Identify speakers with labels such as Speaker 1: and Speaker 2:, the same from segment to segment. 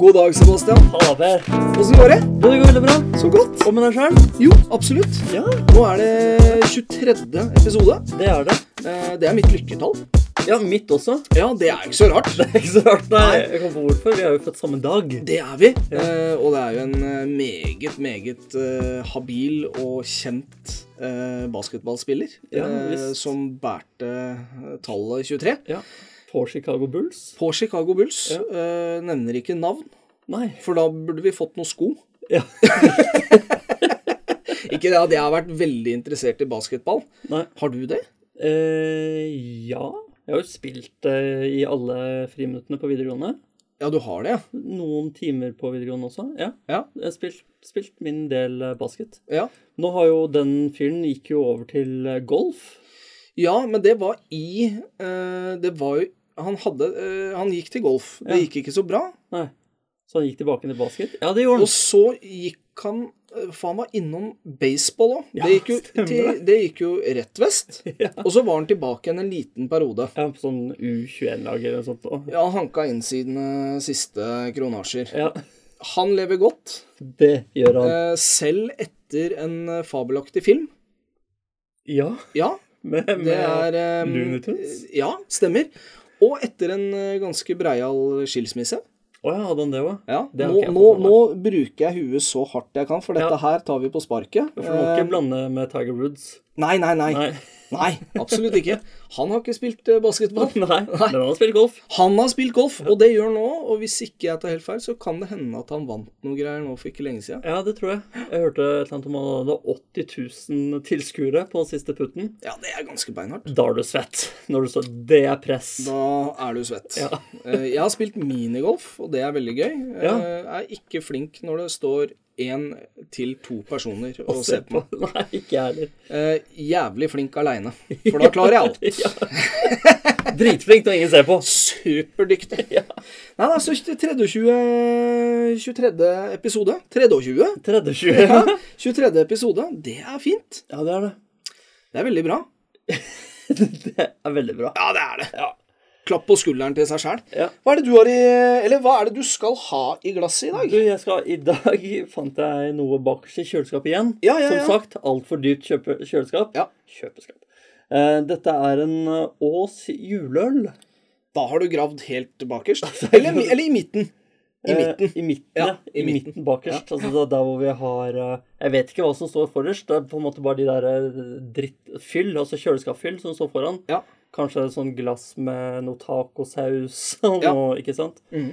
Speaker 1: God dag, Sebastian.
Speaker 2: Fader.
Speaker 1: Åssen går det?
Speaker 2: Jo, det går veldig bra.
Speaker 1: Så godt?
Speaker 2: Og med deg sjøl?
Speaker 1: Jo, absolutt.
Speaker 2: Ja,
Speaker 1: Nå er det 23. episode.
Speaker 2: det er det.
Speaker 1: Eh, Det er mitt lykketall.
Speaker 2: Ja, mitt også.
Speaker 1: Ja, det er ikke så rart.
Speaker 2: Det er ikke så rart. Nei,
Speaker 1: Nei.
Speaker 2: jeg kom på hvorfor. Vi er jo født samme dag.
Speaker 1: Det er vi.
Speaker 2: Ja.
Speaker 1: Eh, Og det er jo en eh, meget, meget eh, habil og kjent eh, basketballspiller
Speaker 2: Ja,
Speaker 1: eh,
Speaker 2: visst.
Speaker 1: som bærte eh, tallet 23
Speaker 2: Ja. På Chicago Bulls?
Speaker 1: på Chicago Bulls.
Speaker 2: Ja.
Speaker 1: Eh, Nevner ikke navn,
Speaker 2: Nei.
Speaker 1: for da burde vi fått noen sko.
Speaker 2: Ja.
Speaker 1: Ikke det at jeg har vært veldig interessert i basketball.
Speaker 2: Nei.
Speaker 1: Har du det?
Speaker 2: Eh, ja. Jeg har jo spilt eh, i alle friminuttene på videregående.
Speaker 1: Ja, du har det, ja.
Speaker 2: Noen timer på videregående også. Ja.
Speaker 1: Ja.
Speaker 2: Jeg har spilt, spilt min del eh, basket.
Speaker 1: Ja,
Speaker 2: Nå har jo den fyren gikk jo over til eh, golf.
Speaker 1: ja men det var i eh, Det var jo han, hadde, eh, han gikk til golf. Det
Speaker 2: Ja.
Speaker 1: gikk ikke så bra.
Speaker 2: Nei. Så han gikk tilbake til basket. Ja, det gjorde
Speaker 1: Og
Speaker 2: han.
Speaker 1: så gikk han eh, For han var innom baseball òg.
Speaker 2: Ja,
Speaker 1: det, gikk jo
Speaker 2: stemmer
Speaker 1: til- det gikk jo rett vest.
Speaker 2: Ja.
Speaker 1: Og så var han tilbake igjen en liten periode.
Speaker 2: Ja, på sånn U21-lag eller noe sånt. også.
Speaker 1: Ja, han hanka inn sine siste kronasjer.
Speaker 2: Ja,
Speaker 1: Han lever godt.
Speaker 2: det gjør han.
Speaker 1: eh, selv etter en eh, fabelaktig film.
Speaker 2: Ja,
Speaker 1: Ja,
Speaker 2: med,
Speaker 1: det er eh,
Speaker 2: Looney Tunes?
Speaker 1: Ja, stemmer. Og etter en eh, ganske breial skilsmisse.
Speaker 2: Å ja, hadde han det òg?
Speaker 1: Ja,
Speaker 2: Det har
Speaker 1: nå,
Speaker 2: ikke jeg
Speaker 1: nå,
Speaker 2: fått med
Speaker 1: nå bruker jeg huet så hardt jeg kan, for dette
Speaker 2: Ja.
Speaker 1: her tar vi på sparket.
Speaker 2: For du må ikke
Speaker 1: Eh,
Speaker 2: blande med Tiger Woods.
Speaker 1: nei, nei, nei, nei.
Speaker 2: Nei.
Speaker 1: absolutt ikke. Han har ikke spilt eh,
Speaker 2: Nei.
Speaker 1: basketball.
Speaker 2: Men han har spilt golf.
Speaker 1: Han har spilt golf, og det gjør han nå. Og hvis ikke jeg tar helt feil, så kan det hende at han vant noe greier nå for ikke lenge siden.
Speaker 2: Ja, det tror jeg. Jeg hørte et eller annet om han hadde 80 000 tilskuere på den siste putten.
Speaker 1: Ja, det er ganske beinhardt.
Speaker 2: Da er du svett. Når du står Det er press.
Speaker 1: Da er du svett.
Speaker 2: Ja.
Speaker 1: Eh, Jeg har spilt minigolf, og det er veldig gøy. Eh,
Speaker 2: Ja.
Speaker 1: Jeg er ikke flink når det står én til to personer og
Speaker 2: Se
Speaker 1: ser på. meg.
Speaker 2: Nei, ikke jeg heller.
Speaker 1: Eh, Jævlig flink aleine, for da klarer jeg alt.
Speaker 2: Ja. Dritflink når ingen ser på.
Speaker 1: Superdyktig. Nei, det er så 23. 23. episode. 23.
Speaker 2: 30-20.
Speaker 1: Ja, 23. episode. Det er fint.
Speaker 2: Ja, det er det.
Speaker 1: Det er veldig bra.
Speaker 2: Det er veldig bra.
Speaker 1: Ja, det er det.
Speaker 2: Ja.
Speaker 1: Klapp på skulderen til seg sjæl.
Speaker 2: Ja.
Speaker 1: Hva er det du har i Eller hva er det du skal ha i glasset i dag?
Speaker 2: Du, jeg skal, I dag fant jeg noe bakerst i kjøleskapet igjen.
Speaker 1: Ja, ja, ja.
Speaker 2: Som sagt, altfor dypt kjøpe, kjøleskap.
Speaker 1: Ja.
Speaker 2: Kjøpeskap. Eh, dette er en eh, Ås juleøl.
Speaker 1: Da har du gravd helt bakerst. Eller, mi- eller i midten. I
Speaker 2: Eh,
Speaker 1: midten.
Speaker 2: I midten,
Speaker 1: Ja,
Speaker 2: ja.
Speaker 1: i
Speaker 2: I, midten, bakerst. Altså det er der hvor vi har eh, Jeg vet ikke hva som står forrest. Det er på en måte bare de der eh, drittfyll, altså kjøleskapfyll, som står foran.
Speaker 1: Ja.
Speaker 2: Kanskje et sånt glass med noe tacosaus og
Speaker 1: Ja.
Speaker 2: noe, ikke sant.
Speaker 1: Mhm.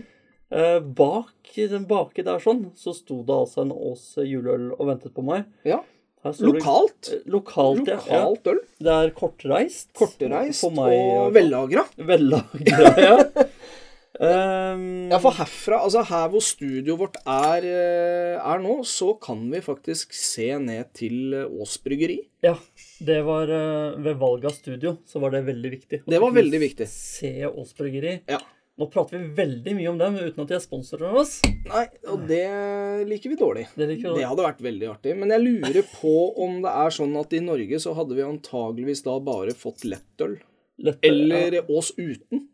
Speaker 2: Eh, bak i den baki der sånn, så sto det altså en Ås juleøl og ventet på meg.
Speaker 1: ja.
Speaker 2: Her står det- Eh,
Speaker 1: Lokalt.
Speaker 2: Lokalt, ja. ja.
Speaker 1: Lokalt øl.
Speaker 2: Det er kortreist.
Speaker 1: Kortreist
Speaker 2: For meg,
Speaker 1: og
Speaker 2: og-
Speaker 1: vellagra.
Speaker 2: Vellagra, ja. Ehm,
Speaker 1: Ja, for herfra, altså her hvor studioet vårt er, eh, er nå, så kan vi faktisk se ned til eh, Ås bryggeri.
Speaker 2: ja, det var eh, ved valget av studio, så var det veldig viktig.
Speaker 1: Det var veldig viktig.
Speaker 2: Se Ås Bryggeri.
Speaker 1: Ja.
Speaker 2: Nå prater vi veldig mye om dem uten at de er sponsorer av oss.
Speaker 1: Nei, og det liker vi dårlig.
Speaker 2: Det liker vi dårlig.
Speaker 1: det hadde vært veldig artig. Men jeg lurer på om det er sånn at i Norge så hadde vi antageligvis da bare fått lettøl.
Speaker 2: Lett-
Speaker 1: Eller Ås uten.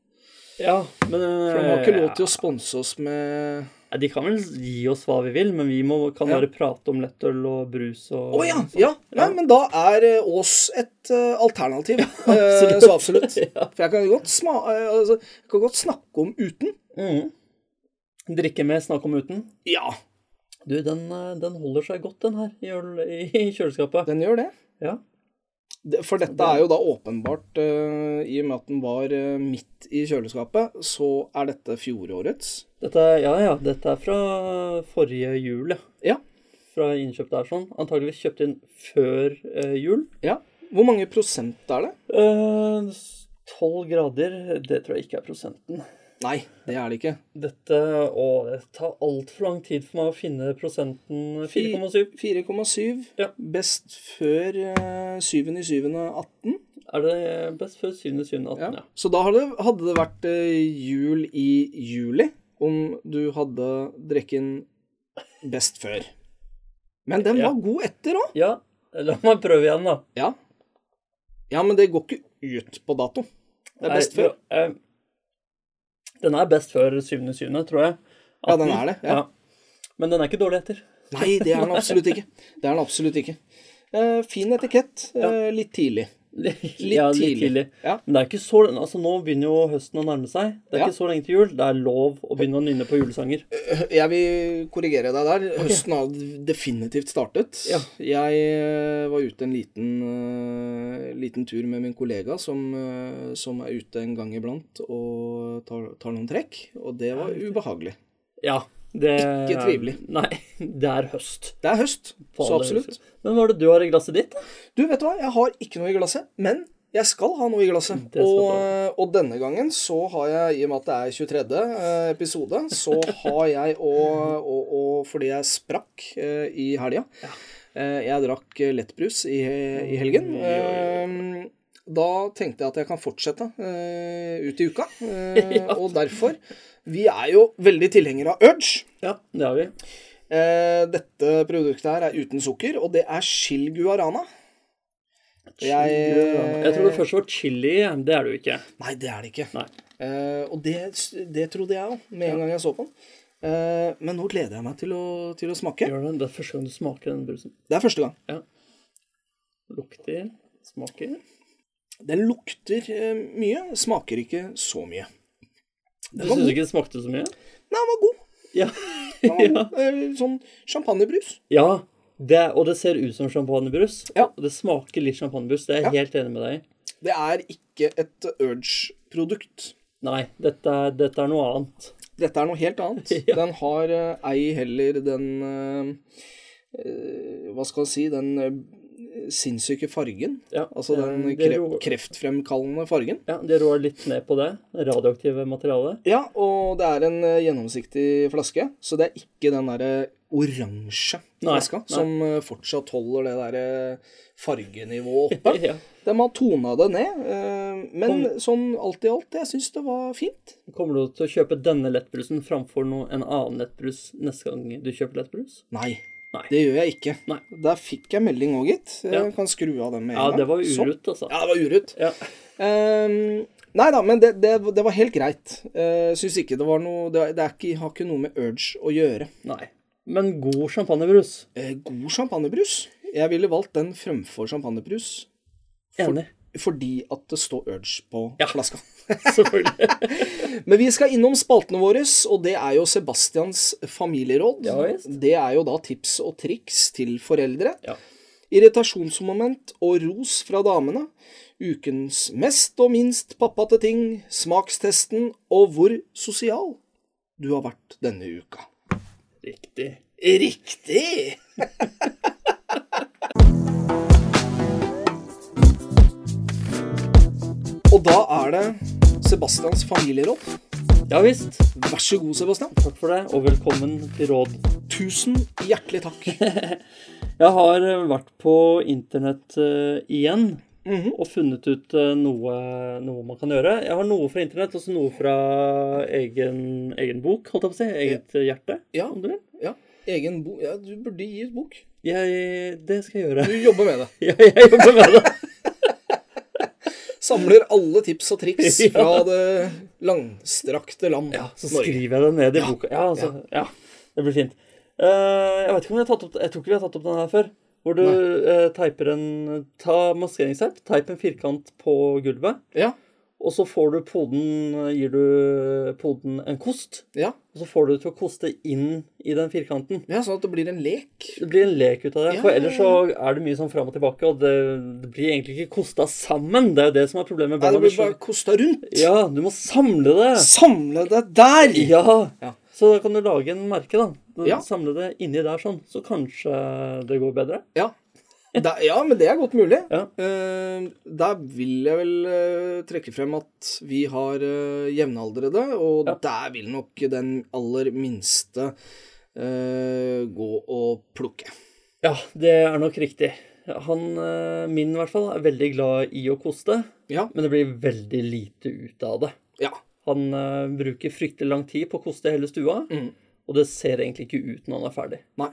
Speaker 2: Ja, men eh,
Speaker 1: For de har ikke lov til å sponse oss med
Speaker 2: ja, De kan vel gi oss hva vi vil, men vi må, kan
Speaker 1: Ja.
Speaker 2: bare prate om lettøl og brus og sånn.
Speaker 1: Å ja! ja. Nei, men da er eh, Ås et eh, alternativ. Eh,
Speaker 2: absolutt.
Speaker 1: så absolutt.
Speaker 2: Ja.
Speaker 1: For jeg kan godt, sma eh, altså, jeg kan godt snakke om uten.
Speaker 2: Mhm. Drikke med, snakke om uten.
Speaker 1: Ja,
Speaker 2: Du, den, eh, den holder seg godt, den her, i, øl, i kjøleskapet.
Speaker 1: den gjør det.
Speaker 2: Ja.
Speaker 1: Det- For dette er jo da åpenbart, eh, i og med at den var eh, midt i kjøleskapet, så er dette fjorårets.
Speaker 2: Dette, er- ja, ja, dette er fra forrige jul, ja.
Speaker 1: Ja.
Speaker 2: Fra innkjøp der, sånn. Antageligvis kjøpt inn før eh, jul.
Speaker 1: ja. Hvor mange prosent er det?
Speaker 2: Eh, 12 grader, det tror jeg ikke er prosenten.
Speaker 1: Nei, det er det ikke.
Speaker 2: Dette, å, det tar altfor lang tid for meg å finne prosenten 4,7.
Speaker 1: 4,7.
Speaker 2: Ja.
Speaker 1: Best før eh, 7.7.18.
Speaker 2: Er det best før 7.7.18,
Speaker 1: Ja.
Speaker 2: ja.
Speaker 1: Så da hadde, hadde det vært eh, jul i juli om du hadde drekken best før. Men den
Speaker 2: Ja.
Speaker 1: var god etter òg.
Speaker 2: Ja, la meg prøve igjen, da.
Speaker 1: Ja. ja, men det går ikke ut på dato. Det er best
Speaker 2: Nei,
Speaker 1: før.
Speaker 2: jo, eh, Den er best før 7.7., tror jeg.
Speaker 1: Ja, den er det, ja.
Speaker 2: Men den er ikke dårlig etter.
Speaker 1: Nei, det er den absolutt ikke. Det er den absolutt ikke. Eh, fin etikett. eh, litt tidlig.
Speaker 2: Litt,
Speaker 1: Litt tidlig. Ja.
Speaker 2: Men det er ikke så Altså, nå begynner jo høsten å nærme seg. Det er
Speaker 1: Ja.
Speaker 2: ikke så lenge til jul. Det er lov å begynne å nynne på julesanger.
Speaker 1: Jeg vil korrigere deg der. Høsten har definitivt startet.
Speaker 2: Ja.
Speaker 1: Jeg eh, var ute en liten, eh, liten tur med min kollega, som, eh, som er ute en gang iblant og tar, tar noen trekk. Og det var ubehagelig.
Speaker 2: Ja. Det,
Speaker 1: Ikke trivelig.
Speaker 2: Nei. Det er høst.
Speaker 1: Det er høst,
Speaker 2: på
Speaker 1: så
Speaker 2: alle
Speaker 1: absolutt.
Speaker 2: høyder. Men hva er det du har i glasset ditt? da?
Speaker 1: Du, vet du hva? Jeg har ikke noe i glasset, men jeg skal ha noe i glasset.
Speaker 2: Det skal du
Speaker 1: Og, og denne gangen så har jeg, i og med at det er 23. eh, episode, så har jeg og, og, og fordi jeg sprakk eh, i helga eh, Jeg drakk eh, lettbrus i, i helgen. eh, Da tenkte jeg at jeg kan fortsette eh, ut i uka. eh, Og derfor Vi er jo veldig tilhengere av Urge.
Speaker 2: Ja, det har vi.
Speaker 1: Eh, dette produktet her er uten sukker, og det er Chil Guarana. Jeg-
Speaker 2: Jeg tror det første var chili. Det er det jo ikke.
Speaker 1: Nei, det er det ikke.
Speaker 2: Nei.
Speaker 1: Eh, og det, det trodde jeg òg, med en gang jeg så på den. Eh, men nå gleder jeg meg til å, til å smake.
Speaker 2: Gjør det, det er første gang du smaker den brusen.
Speaker 1: Det er første gang.
Speaker 2: Lukter, smaker.
Speaker 1: Den lukter eh, mye, smaker ikke så mye.
Speaker 2: Du
Speaker 1: var
Speaker 2: syns ikke det smakte så mye?
Speaker 1: Nei, den var god.
Speaker 2: Ja.
Speaker 1: Den var god. Eh, sånn champagnebrus.
Speaker 2: ja det, og det ser ut som champagnebrus.
Speaker 1: Ja.
Speaker 2: Og det smaker litt champagnebrus. Det er jeg helt enig med deg i.
Speaker 1: Det er ikke et Urge-produkt.
Speaker 2: Nei, dette, er- dette er noe annet.
Speaker 1: Dette er noe helt annet.
Speaker 2: Ja.
Speaker 1: Den har eh, ei heller den eh, eh, Hva skal jeg si Den eh, sinnssyke fargen.
Speaker 2: Ja,
Speaker 1: Altså
Speaker 2: det er-
Speaker 1: den
Speaker 2: det
Speaker 1: kre
Speaker 2: rå-
Speaker 1: kreftfremkallende fargen.
Speaker 2: Ja, det rår litt ned på det radioaktive materialet.
Speaker 1: Ja, og det er en eh, gjennomsiktig flaske, så det er ikke den derre oransje
Speaker 2: Nei,
Speaker 1: flaska
Speaker 2: nei.
Speaker 1: som eh, fortsatt holder det derre fargenivået oppe.
Speaker 2: Ja.
Speaker 1: De har tona det ned, eh, men sånn alt i alt, jeg syns det var fint.
Speaker 2: Kommer du til å kjøpe denne lettbrusen framfor noe, en annen lettbrus neste gang du kjøper lettbrus?
Speaker 1: Nei,
Speaker 2: Nei.
Speaker 1: det gjør jeg ikke.
Speaker 2: Nei.
Speaker 1: Der fikk jeg melding òg, gitt. Jeg
Speaker 2: Ja.
Speaker 1: kan skru av den med en
Speaker 2: Ja,
Speaker 1: gang.
Speaker 2: det var
Speaker 1: Sånn.
Speaker 2: urutt, altså.
Speaker 1: Ja, det var urutt.
Speaker 2: Ja.
Speaker 1: Ehm, nei da, men det, det, det var helt greit. Uh, Syns ikke det var noe Det, det er ikke, har ikke noe med urge å gjøre.
Speaker 2: Nei. Men god champagnebrus.
Speaker 1: Eh, god champagnebrus. Jeg ville valgt den fremfor champagnebrus
Speaker 2: Enig.
Speaker 1: fordi at det står urge på
Speaker 2: Ja.
Speaker 1: flaska.
Speaker 2: Selvfølgelig.
Speaker 1: Men vi skal innom spaltene våre, og det er jo Sebastians familieråd.
Speaker 2: Ja, visst.
Speaker 1: det er jo da tips og triks til foreldre.
Speaker 2: Ja.
Speaker 1: Irritasjonsmoment og ros fra damene. Ukens mest og minst pappa til ting, smakstesten og hvor sosial du har vært denne uka.
Speaker 2: Riktig.
Speaker 1: Riktig! og da er det Sebastians familieråd.
Speaker 2: Ja visst.
Speaker 1: Vær så god, Sebastian.
Speaker 2: Takk for det, og velkommen til råd.
Speaker 1: Tusen hjertelig takk.
Speaker 2: Jeg har eh, vært på internett eh, igjen og funnet ut eh, noe, noe man kan gjøre. Jeg har noe fra internett og så noe fra egen, egen bok, holdt jeg på å si. Eget eh, hjerte,
Speaker 1: Ja.
Speaker 2: om du vil.
Speaker 1: Ja, egen bok. Ja, du burde gi ut bok.
Speaker 2: Jeg, det skal jeg gjøre.
Speaker 1: Du jobber med det.
Speaker 2: Jeg, jeg jobber med det.
Speaker 1: Samler alle tips og triks
Speaker 2: Ja.
Speaker 1: fra det langstrakte land
Speaker 2: Ja, så
Speaker 1: Norge.
Speaker 2: skriver jeg det ned i boka. Ja, altså, ja. Det blir fint. Eh, jeg vet ikke om vi har tatt opp Jeg tror ikke vi har tatt opp den her før. Hvor du eh, teiper en Ta maskeringsteip, teip en firkant på gulvet,
Speaker 1: Ja,
Speaker 2: og så får du poden eh, Gir du poden en kost,
Speaker 1: ja.
Speaker 2: og så får du det til å koste inn i den firkanten.
Speaker 1: ja, sånn at det blir en lek.
Speaker 2: Det blir en lek ut av det.
Speaker 1: Ja,
Speaker 2: For
Speaker 1: ja,
Speaker 2: ellers så er det mye sånn fram og tilbake, og det, det blir egentlig ikke kosta sammen. Det er jo det som er problemet.
Speaker 1: Nei,
Speaker 2: Barna
Speaker 1: det blir
Speaker 2: blir
Speaker 1: bare kosta rundt.
Speaker 2: så- Ja, du må samle det.
Speaker 1: Samle deg der!
Speaker 2: Ja.
Speaker 1: Ja.
Speaker 2: Så da kan du lage en merke, da. Du
Speaker 1: Ja.
Speaker 2: Samle det inni der sånn, så kanskje det går bedre.
Speaker 1: Ja. Da, ja, men det er godt mulig.
Speaker 2: Ja.
Speaker 1: Eh, der vil jeg vel eh, trekke frem at vi har eh, jevnaldrende, og
Speaker 2: Ja.
Speaker 1: der vil nok den aller minste eh, gå og plukke.
Speaker 2: Ja, det er nok riktig. Han eh, min, i hvert fall, er veldig glad i å koste,
Speaker 1: Ja.
Speaker 2: men det blir veldig lite ut av det.
Speaker 1: Ja.
Speaker 2: Han eh, bruker fryktelig lang tid på å koste hele stua,
Speaker 1: Mhm.
Speaker 2: og det ser egentlig ikke ut når han er ferdig.
Speaker 1: Nei.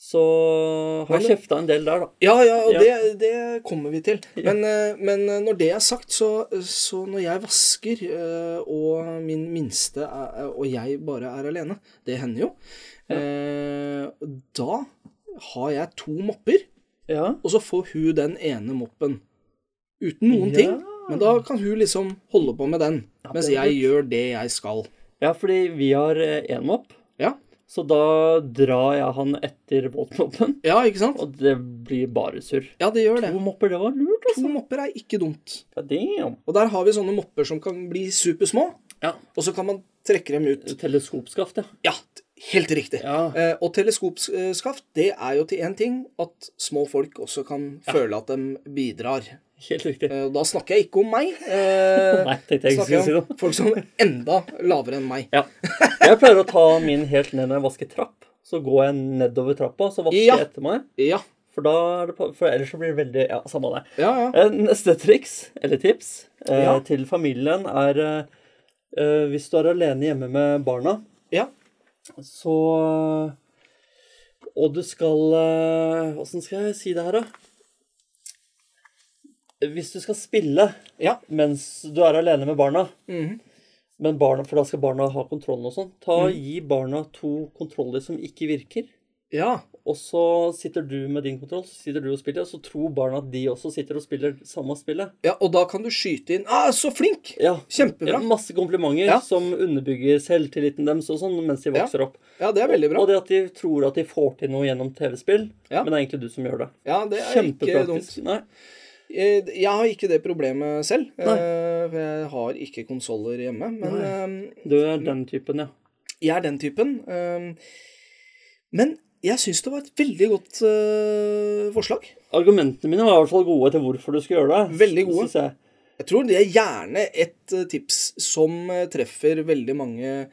Speaker 2: Så eh, har jeg kjefta en del der, da.
Speaker 1: Ja, ja, og
Speaker 2: Ja.
Speaker 1: Det, det kommer vi til. Men, eh, men når det er sagt, så, så når jeg vasker, eh, og min minste er, eh, og jeg bare er alene, det hender jo, eh, da har jeg to mopper,
Speaker 2: Ja.
Speaker 1: og så får hun den ene moppen. Uten noen
Speaker 2: Ja.
Speaker 1: ting. Men da kan hun liksom holde på med den,
Speaker 2: Ja,
Speaker 1: mens
Speaker 2: det er
Speaker 1: jeg
Speaker 2: litt-
Speaker 1: gjør det jeg skal.
Speaker 2: ja, fordi vi har én mopp,
Speaker 1: Ja,
Speaker 2: så da drar jeg han etter våtmoppen.
Speaker 1: ja ikke sant?
Speaker 2: Og det blir bare surr.
Speaker 1: Ja, det gjør det.
Speaker 2: To mopper, det var lurt, altså.
Speaker 1: To mopper er ikke dumt.
Speaker 2: Ja, damn.
Speaker 1: Og der har vi sånne mopper som kan bli supersmå,
Speaker 2: Ja.
Speaker 1: og så kan man trekke dem ut.
Speaker 2: Teleskopskaft, ja.
Speaker 1: Ja, t- helt riktig.
Speaker 2: Ja.
Speaker 1: Eh, og teleskopskaft, det er jo til én ting at små folk også kan føle at de bidrar.
Speaker 2: Helt riktig.
Speaker 1: Eh, og da snakker jeg ikke om meg. Eh,
Speaker 2: Nei, tenkte jeg ikke skulle
Speaker 1: snakker
Speaker 2: si
Speaker 1: jeg
Speaker 2: noe.
Speaker 1: om folk som er enda lavere enn meg.
Speaker 2: Ja. Jeg pleier å ta min helt ned når jeg vasker trapp. Så går jeg nedover trappa, så vasker
Speaker 1: Ja.
Speaker 2: jeg etter meg.
Speaker 1: Ja,
Speaker 2: For, da er det, på- for ellers så blir det veldig Ja, samme det.
Speaker 1: ja, ja.
Speaker 2: Eh, Neste triks, eller tips, eh,
Speaker 1: Ja.
Speaker 2: til familien er eh, eh, Hvis du er alene hjemme med barna,
Speaker 1: ja.
Speaker 2: så Og du skal eh, Åssen skal jeg si det her, da? Hvis du skal spille
Speaker 1: ja.
Speaker 2: mens du er alene med barna,
Speaker 1: Mhm.
Speaker 2: men barna, for da skal barna ha kontrollen og sånn, ta, gi barna to kontroller som ikke virker.
Speaker 1: ja.
Speaker 2: Og så sitter du med din kontroll, så sitter du og spiller, og så tror barna at de også sitter og spiller samme spillet.
Speaker 1: Ja, og da kan du skyte inn ah, 'Så flink!'
Speaker 2: Ja.
Speaker 1: Kjempebra.
Speaker 2: Masse komplimenter
Speaker 1: Ja.
Speaker 2: som underbygger selvtilliten deres og sånn mens de
Speaker 1: Ja.
Speaker 2: vokser opp.
Speaker 1: Ja, det er veldig bra.
Speaker 2: Og det at de tror at de får til noe gjennom TV-spill,
Speaker 1: Ja.
Speaker 2: men det er egentlig du som gjør det.
Speaker 1: Ja, det er ikke dumt.
Speaker 2: Kjempepraktisk. Nei.
Speaker 1: Eh, Jeg har ikke det problemet selv. eh,
Speaker 2: Nei.
Speaker 1: for Jeg har ikke konsoller hjemme. Men eh,
Speaker 2: Du er den typen, ja.
Speaker 1: Jeg er den typen. ehm, Men jeg syns det var et veldig godt eh, forslag.
Speaker 2: Argumentene mine var i hvert fall gode til hvorfor du skulle gjøre det.
Speaker 1: Veldig gode.
Speaker 2: synes jeg.
Speaker 1: Jeg tror det er gjerne et eh, tips som eh, treffer veldig mange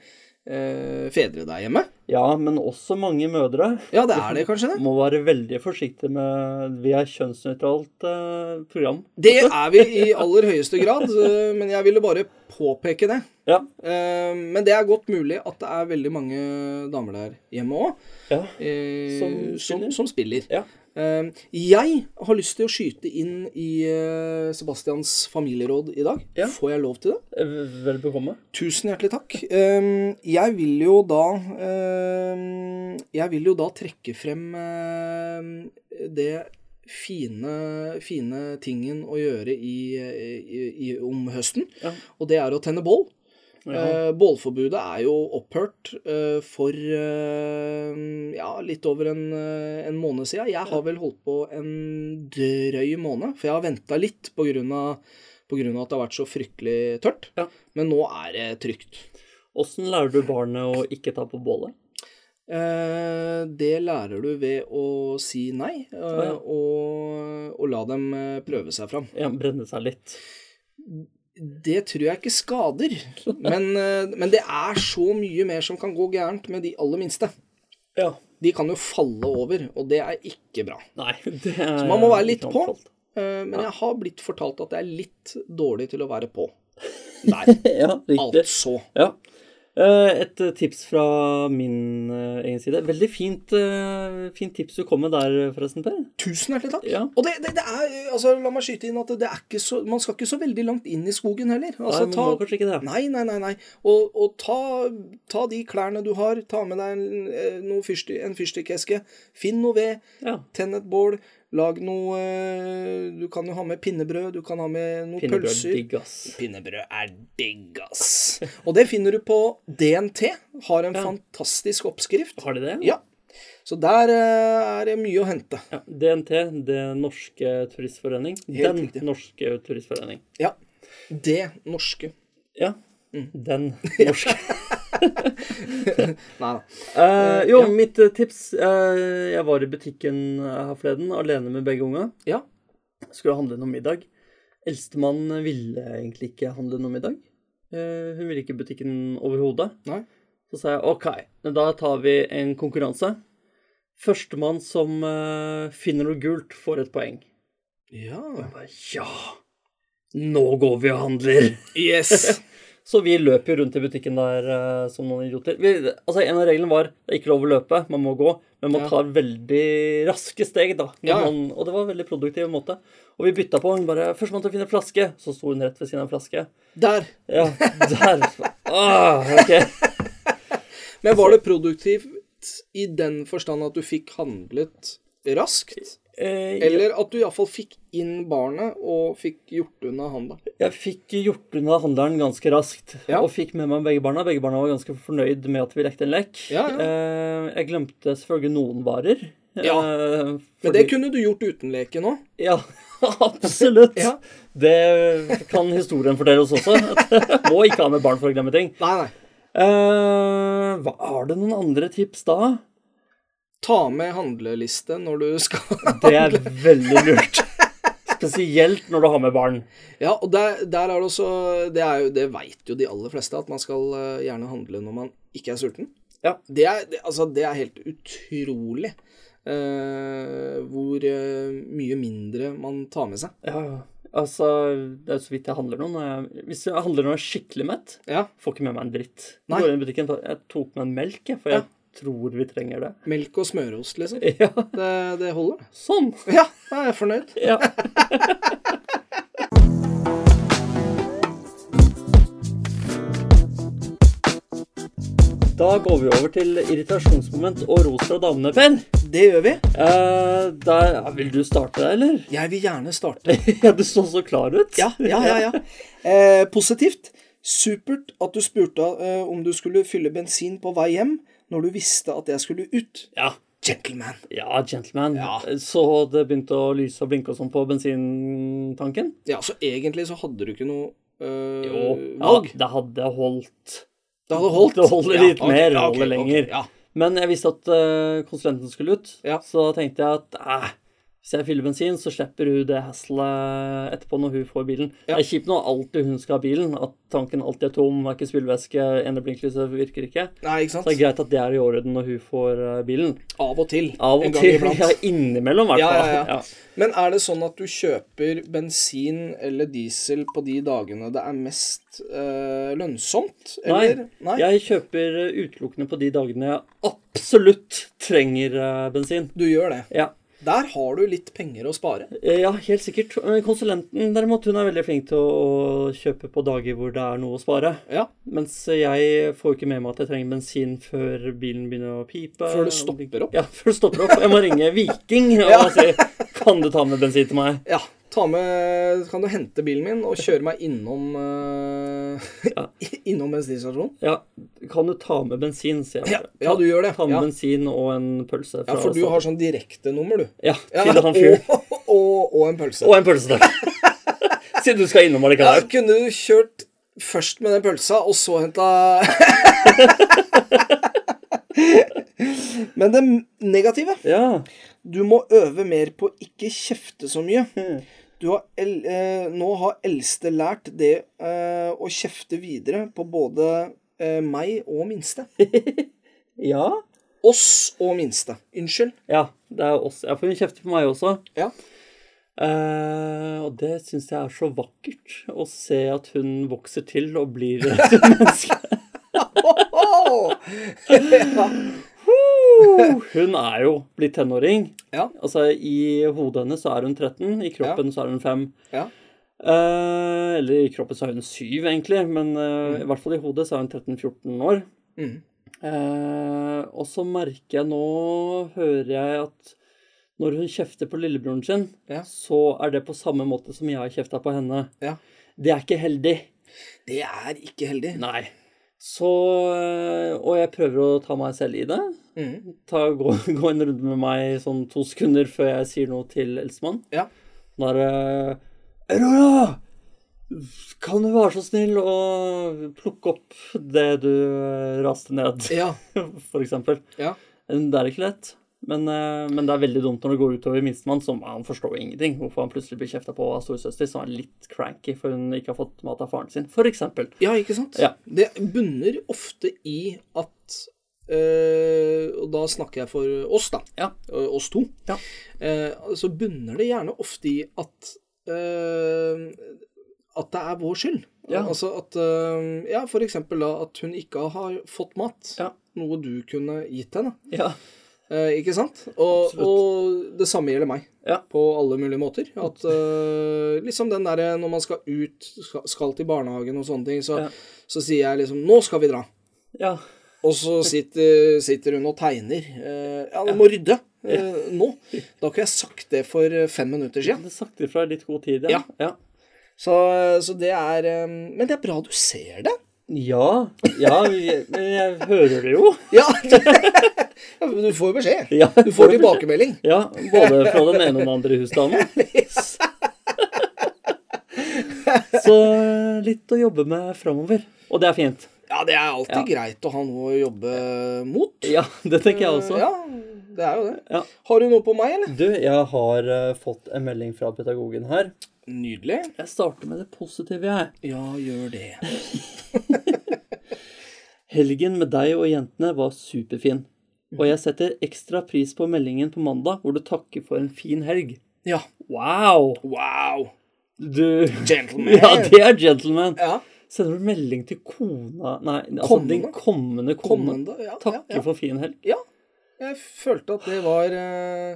Speaker 1: eh, fedre der hjemme.
Speaker 2: Ja, men også mange mødre
Speaker 1: Ja, det er det kanskje det?
Speaker 2: må være veldig forsiktige med Vi er kjønnsnøytralt eh, program.
Speaker 1: Det er vi i aller høyeste grad, eh, men jeg ville bare påpeke det.
Speaker 2: Ja.
Speaker 1: Eh, Men det er godt mulig at det er veldig mange damer der hjemme òg
Speaker 2: ja.
Speaker 1: som, som,
Speaker 2: Som spiller?
Speaker 1: som spiller.
Speaker 2: ja.
Speaker 1: Eh, Jeg har lyst til å skyte inn i eh, Sebastians familieråd i dag.
Speaker 2: Ja.
Speaker 1: Får jeg lov til det?
Speaker 2: Eh, Vel bekomme.
Speaker 1: Tusen hjertelig takk. Eh, Jeg vil jo da eh, Jeg vil jo da trekke frem eh, det fine, fine tingen å gjøre i, i, i, om høsten,
Speaker 2: Ja.
Speaker 1: og det er å tenne bål.
Speaker 2: Ja.
Speaker 1: Eh, bålforbudet er jo opphørt eh, for eh, ja, litt over en, eh, en måned siden. Jeg har vel holdt på en drøy måned, for jeg har venta litt pga. at det har vært så fryktelig tørt.
Speaker 2: Ja.
Speaker 1: Men nå er det trygt.
Speaker 2: Åssen lærer du barnet å ikke ta på bålet?
Speaker 1: Eh, det lærer du ved å si nei, eh,
Speaker 2: ja.
Speaker 1: og, og la dem eh, prøve seg fram.
Speaker 2: Ja, brenne seg litt.
Speaker 1: Det tror jeg ikke skader, men, eh, men det er så mye mer som kan gå gærent med de aller minste.
Speaker 2: Ja.
Speaker 1: De kan jo falle over, og det er ikke bra.
Speaker 2: Nei, det er
Speaker 1: Man må være litt
Speaker 2: ikke
Speaker 1: på.
Speaker 2: anbefalt.
Speaker 1: Eh, Men jeg har blitt fortalt at jeg er litt dårlig til å være på. Der,
Speaker 2: Ja, riktig.
Speaker 1: altså.
Speaker 2: Ja. Eh, Et eh, tips fra min eh, egen side. Veldig fint, eh, fint tips du kom med der, forresten, Per.
Speaker 1: Tusen hjertelig takk.
Speaker 2: Ja.
Speaker 1: Og det, det, det er, eh, altså, la meg skyte inn at det er ikke så, man skal ikke så veldig langt inn i skogen heller. Altså,
Speaker 2: Nei, man må
Speaker 1: ta,
Speaker 2: kanskje ikke det.
Speaker 1: nei, nei, nei. nei. Og, og ta, ta de klærne du har, ta med deg en, eh, noe fyrsti, en fyrstikkeske, finn noe ved,
Speaker 2: Ja.
Speaker 1: tenn et bål, lag noe eh, Du kan jo ha med pinnebrød, du kan ha med noen
Speaker 2: Pinnebrød,
Speaker 1: pølser.
Speaker 2: digg, ass.
Speaker 1: Pinnebrød er digg, ass. Og det finner du på DNT. Har en
Speaker 2: Ja.
Speaker 1: fantastisk oppskrift.
Speaker 2: Har de det?
Speaker 1: Ja. Så der eh, er det mye å hente.
Speaker 2: Ja, DNT, Det Norske Turistforening.
Speaker 1: Helt
Speaker 2: Den
Speaker 1: riktig.
Speaker 2: Norske Turistforening.
Speaker 1: Ja. Det norske.
Speaker 2: Ja. Mm.
Speaker 1: Mm.
Speaker 2: Den norske.
Speaker 1: Nei da.
Speaker 2: Eh, jo, mitt eh, tips eh, Jeg var i butikken eh, her forleden, alene med begge unga.
Speaker 1: Ja.
Speaker 2: Skulle handle noe middag. Eldstemann ville egentlig ikke handle noe middag. Eh, hun ville ikke i butikken overhodet.
Speaker 1: Nei.
Speaker 2: Så sa jeg OK, men da tar vi en konkurranse. Førstemann som eh, finner noe gult, får et poeng.
Speaker 1: Ja.
Speaker 2: Jeg bare, ja! Nå går vi og handler!
Speaker 1: Yes.
Speaker 2: Så vi løp jo rundt i butikken der eh, som noen idioter. Vi, altså En av reglene var det er ikke lov å løpe, man må gå. Men man
Speaker 1: Ja.
Speaker 2: tar veldig raske steg, da. når
Speaker 1: Ja, ja.
Speaker 2: Man, og det var en veldig produktiv måte. Og vi bytta på. Hun bare 'Førstemann til å finne en flaske.' Så sto hun rett ved siden av en flaske.
Speaker 1: Der.
Speaker 2: Ja, der. Ah, ok.
Speaker 1: Men var det produktivt i den forstand at du fikk handlet raskt?
Speaker 2: Eh,
Speaker 1: Eller at du iallfall fikk inn barnet og fikk gjort unna handla?
Speaker 2: Jeg fikk gjort unna handelen ganske raskt,
Speaker 1: Ja.
Speaker 2: og fikk med meg begge barna. Begge barna var ganske fornøyd med at vi lekte en lek.
Speaker 1: Ja, ja.
Speaker 2: Eh, Jeg glemte selvfølgelig noen varer.
Speaker 1: Ja.
Speaker 2: eh,
Speaker 1: Men det kunne du gjort uten leken òg.
Speaker 2: Ja, absolutt.
Speaker 1: Ja.
Speaker 2: Det kan historien fortelle oss også. At Må ikke ha med barn for å glemme ting.
Speaker 1: Nei, nei.
Speaker 2: Eh, hva, har du noen andre tips da?
Speaker 1: Ta med handleliste når du skal
Speaker 2: Det er veldig lurt. Spesielt når du har med barn.
Speaker 1: Ja, og der, der er det også Det, er jo, det veit jo de aller fleste, at man skal eh, gjerne handle når man ikke er sulten.
Speaker 2: Ja.
Speaker 1: Det er, det, altså, det er helt utrolig eh, hvor eh, mye mindre man tar med seg.
Speaker 2: Ja, ja. altså, det er så vidt jeg handler nå. Når jeg, hvis jeg handler når jeg er skikkelig mett,
Speaker 1: Ja,
Speaker 2: får ikke med meg en dritt.
Speaker 1: Nei.
Speaker 2: Går inn i butikken, tar- jeg tok med en melk, jeg, for jeg
Speaker 1: Ja.
Speaker 2: tror vi trenger det.
Speaker 1: Melk og smørost, liksom.
Speaker 2: Ja,
Speaker 1: Det, det holder, det.
Speaker 2: sånn.
Speaker 1: Ja, jeg er fornøyd.
Speaker 2: Ja. Da går vi over til irritasjonsmoment og ros fra damene, Per.
Speaker 1: Det gjør vi.
Speaker 2: Eh, der, ja, vil du starte, eller?
Speaker 1: Jeg vil gjerne starte
Speaker 2: Ja, du så så klar ut.
Speaker 1: Ja, ja, ja. ja. Eh, positivt. Supert at du spurte eh, om du skulle fylle bensin på vei hjem når du visste at jeg skulle ut.
Speaker 2: Ja,
Speaker 1: Gentleman.
Speaker 2: ja gentleman.
Speaker 1: Ja.
Speaker 2: Så det begynte å lyse og blinke og sånn på bensintanken?
Speaker 1: Ja, så egentlig så hadde du ikke noe eh,
Speaker 2: Jo, ja,
Speaker 1: valg.
Speaker 2: det hadde holdt.
Speaker 1: Det hadde holdt.
Speaker 2: Det holder litt mer,
Speaker 1: ok,
Speaker 2: holder
Speaker 1: ok,
Speaker 2: lenger.
Speaker 1: ja.
Speaker 2: Men jeg visste at eh, konsulenten skulle ut,
Speaker 1: Ja.
Speaker 2: så da tenkte jeg at eh, hvis jeg fyller bensin, så slipper hun det hasslet etterpå når hun får bilen.
Speaker 1: Ja.
Speaker 2: Det er kjipt når alltid hun skal ha bilen, at tanken alltid er tom, det er ikke spillvæske, ene blinklyset virker ikke.
Speaker 1: Nei, ikke
Speaker 2: Så det er
Speaker 1: sant.
Speaker 2: greit at det er i orden når hun får eh, bilen.
Speaker 1: Av og til.
Speaker 2: Av
Speaker 1: en
Speaker 2: og
Speaker 1: gang
Speaker 2: til.
Speaker 1: iblant.
Speaker 2: Ja, innimellom, i hvert
Speaker 1: Ja,
Speaker 2: fall.
Speaker 1: ja, ja. Men er det sånn at du kjøper bensin eller diesel på de dagene det er mest eh, lønnsomt? Eller? Nei.
Speaker 2: Jeg kjøper eh, utelukkende på de dagene jeg absolutt trenger eh, bensin.
Speaker 1: Du gjør det.
Speaker 2: Ja.
Speaker 1: Der har du litt penger å spare.
Speaker 2: Eh, Ja, helt sikkert. Men Konsulenten derimot, hun er veldig flink til å å kjøpe på dager hvor det er noe å spare.
Speaker 1: Ja.
Speaker 2: Mens jeg får jo ikke med meg at jeg trenger bensin før bilen begynner å pipe.
Speaker 1: Før det stopper opp?
Speaker 2: Ja, før det stopper opp. Jeg må ringe Viking og si kan du ta med bensin til meg.
Speaker 1: Ja. Ta med, kan du hente bilen min og kjøre meg innom uh,
Speaker 2: Ja.
Speaker 1: Innom bensinstasjonen?
Speaker 2: Ja, kan du ta med bensin, sier jeg.
Speaker 1: Ja, ja, du gjør det.
Speaker 2: Ta med
Speaker 1: Ja.
Speaker 2: bensin og en pølse.
Speaker 1: Ja, for du har sånn direktenummer, du.
Speaker 2: Ja,
Speaker 1: Ja,
Speaker 2: til han fyren.
Speaker 1: og, og, og en pølse.
Speaker 2: Og en pølse, takk. Siden du skal innom
Speaker 1: Ja,
Speaker 2: allikevel.
Speaker 1: kunne du kjørt først med den pølsa, og så henta Men det negative
Speaker 2: Ja.
Speaker 1: Du må øve mer på ikke kjefte så mye. Du har el eh, nå har eldste lært det eh, å kjefte videre på både eh, meg og minste.
Speaker 2: Ja.
Speaker 1: Oss og minste. Unnskyld.
Speaker 2: Ja, det er oss. Ja, for hun kjefter på meg også.
Speaker 1: Ja.
Speaker 2: Eh, og det syns jeg er så vakkert, å se at hun vokser til og blir et menneske. Hun er jo blitt tenåring.
Speaker 1: Ja.
Speaker 2: Altså, I hodet hennes så er hun 13, i kroppen så er hun 5.
Speaker 1: Ja.
Speaker 2: Eh, eller i kroppen så er hun 7, egentlig, men eh, i hvert fall i hodet så er hun 13-14 år.
Speaker 1: Mm.
Speaker 2: Eh, og så merker jeg nå, hører jeg at når hun kjefter på lillebroren sin,
Speaker 1: Ja.
Speaker 2: så er det på samme måte som jeg har kjefta på henne.
Speaker 1: Ja.
Speaker 2: Det er ikke heldig.
Speaker 1: Det er ikke heldig.
Speaker 2: Nei. Så eh, Og jeg prøver å ta meg selv i det.
Speaker 1: Mm.
Speaker 2: Ta, gå, gå en runde med meg sånn to sekunder før jeg sier noe til eldstemann.
Speaker 1: Ja.
Speaker 2: Da er det Aurora! Kan du være så snill å plukke opp det du eh, raste ned,
Speaker 1: Ja.
Speaker 2: for eksempel?
Speaker 1: Ja.
Speaker 2: Det er ikke lett. Men, eh, men det er veldig dumt når det går utover minstemann, som han forstår jo ingenting. Hvorfor han plutselig blir kjefta på av storesøster, som er litt cranky for hun ikke har fått mat av faren sin, for eksempel.
Speaker 1: ja, ikke sant?
Speaker 2: Ja.
Speaker 1: Det bunner ofte i at eh, Og da snakker jeg for oss, da.
Speaker 2: Ja.
Speaker 1: Eh, oss to.
Speaker 2: Ja.
Speaker 1: Eh, så bunner det gjerne ofte i at eh, At det er vår skyld.
Speaker 2: Ja.
Speaker 1: Altså at eh, Ja, for eksempel da at hun ikke har fått mat.
Speaker 2: Ja.
Speaker 1: Noe du kunne gitt henne.
Speaker 2: Ja.
Speaker 1: Eh, ikke sant? Og,
Speaker 2: Absolutt.
Speaker 1: og det samme gjelder meg.
Speaker 2: Ja.
Speaker 1: På alle mulige måter. At eh, liksom den derre når man skal ut, skal, skal til barnehagen og sånne ting, så,
Speaker 2: Ja.
Speaker 1: så sier jeg liksom 'Nå skal vi dra'.
Speaker 2: ja.
Speaker 1: Og så sitter, sitter hun og tegner. Eh, ja, du må rydde. eh, nå. Da kunne jeg sagt det for fem minutter siden.
Speaker 2: Det sagt ifra i litt god tid,
Speaker 1: Ja.
Speaker 2: Ja,
Speaker 1: Så, så det er eh, Men det er bra du ser det.
Speaker 2: ja, ja jeg, men jeg hører det jo.
Speaker 1: Ja. Ja, men du får jo beskjed.
Speaker 2: Ja,
Speaker 1: Du får tilbakemelding.
Speaker 2: Ja, både fra den ene og den andre husstanden. Så litt å jobbe med framover. Og det er fint.
Speaker 1: Ja, det er alltid greit å ha noe å jobbe mot.
Speaker 2: Ja, det tenker jeg også.
Speaker 1: Ja, det er jo det.
Speaker 2: Ja.
Speaker 1: Har du noe på meg, eller?
Speaker 2: Du, jeg har eh, fått en melding fra pedagogen her.
Speaker 1: Nydelig.
Speaker 2: Jeg starter med det positive, jeg.
Speaker 1: Ja, gjør det.
Speaker 2: Helgen med deg og jentene var superfin. Og jeg setter ekstra pris på meldingen på mandag hvor du takker for en fin helg.
Speaker 1: Ja.
Speaker 2: Wow!
Speaker 1: Wow.
Speaker 2: Du
Speaker 1: Gentleman.
Speaker 2: Ja, det er gentleman.
Speaker 1: Ja.
Speaker 2: Sender du melding til kona Nei, altså
Speaker 1: Kommende.
Speaker 2: din kommende kone.
Speaker 1: Kommende. Ja, ja,
Speaker 2: Takker
Speaker 1: ja.
Speaker 2: for fin helg.
Speaker 1: Ja. Jeg følte at det var eh,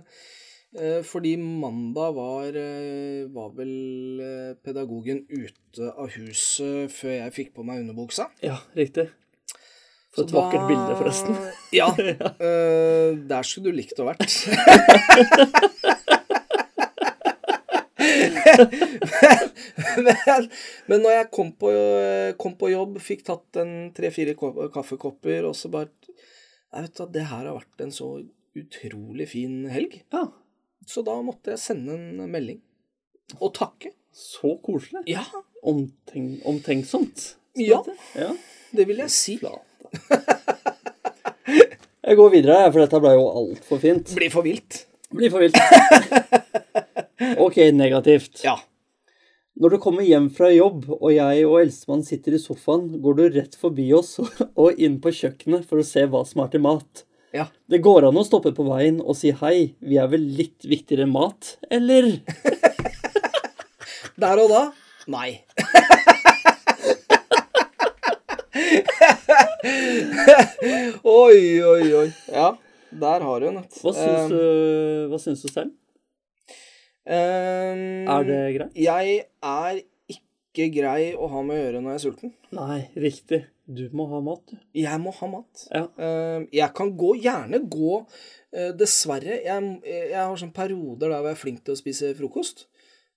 Speaker 1: eh, Fordi mandag var, eh, var vel eh, pedagogen ute av huset før jeg fikk på meg underbuksa.
Speaker 2: Ja, riktig. For
Speaker 1: Så
Speaker 2: et
Speaker 1: da-
Speaker 2: vakkert bilde, forresten.
Speaker 1: Ja. eh, der skulle du likt å vært. men, men når jeg kom på, kom på jobb, fikk tatt en tre-fire ko- kaffekopper, og så bare Jeg vet at det her har vært en så utrolig fin helg.
Speaker 2: Ja,
Speaker 1: Så da måtte jeg sende en melding. Og takke.
Speaker 2: Så koselig.
Speaker 1: Ja,
Speaker 2: Omten omtenksomt. som
Speaker 1: Ja.
Speaker 2: det heter. ja.
Speaker 1: det vil jeg si. Det
Speaker 2: Jeg går videre, for dette ble jo altfor fint.
Speaker 1: blir for vilt.
Speaker 2: Blir for vilt. OK, negativt.
Speaker 1: Ja.
Speaker 2: Når du kommer hjem fra jobb, og jeg og eldstemann sitter i sofaen, går du rett forbi oss og inn på kjøkkenet for å se hva som er til mat.
Speaker 1: Ja.
Speaker 2: Det går an å stoppe på veien og si hei, vi er vel litt viktigere enn mat, eller?
Speaker 1: Der og da nei. oi, oi, oi. Ja, der har hun et.
Speaker 2: Hva syns du, hva syns du selv?
Speaker 1: Ehm,
Speaker 2: Er det greit?
Speaker 1: Jeg er ikke grei å ha med å gjøre når jeg er sulten.
Speaker 2: Nei, riktig. Du må ha mat, du.
Speaker 1: Jeg må ha mat.
Speaker 2: Ja.
Speaker 1: Ehm, jeg kan gå, gjerne gå eh, Dessverre, jeg, jeg har sånne perioder der hvor jeg er flink til å spise frokost.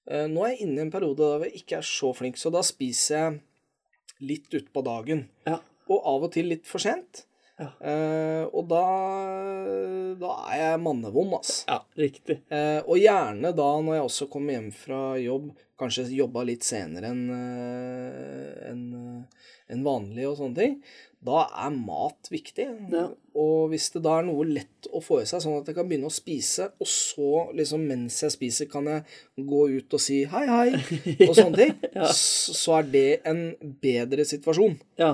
Speaker 1: Eh, nå er jeg inne i en periode der hvor jeg ikke er så flink, så da spiser jeg litt utpå dagen.
Speaker 2: Ja.
Speaker 1: Og av og til litt for sent.
Speaker 2: Ja.
Speaker 1: Eh, og da, da er jeg mannevond, altså.
Speaker 2: ja riktig.
Speaker 1: Eh, og gjerne da når jeg også kommer hjem fra jobb, kanskje jobba litt senere enn eh, enn, eh, enn vanlig og sånne ting. Da er mat viktig.
Speaker 2: Ja.
Speaker 1: Og hvis det da er noe lett å få i seg, sånn at jeg kan begynne å spise, og så liksom mens jeg spiser kan jeg gå ut og si hei, hei, og sånne ting,
Speaker 2: Ja.
Speaker 1: s- så er det en bedre situasjon.
Speaker 2: Ja.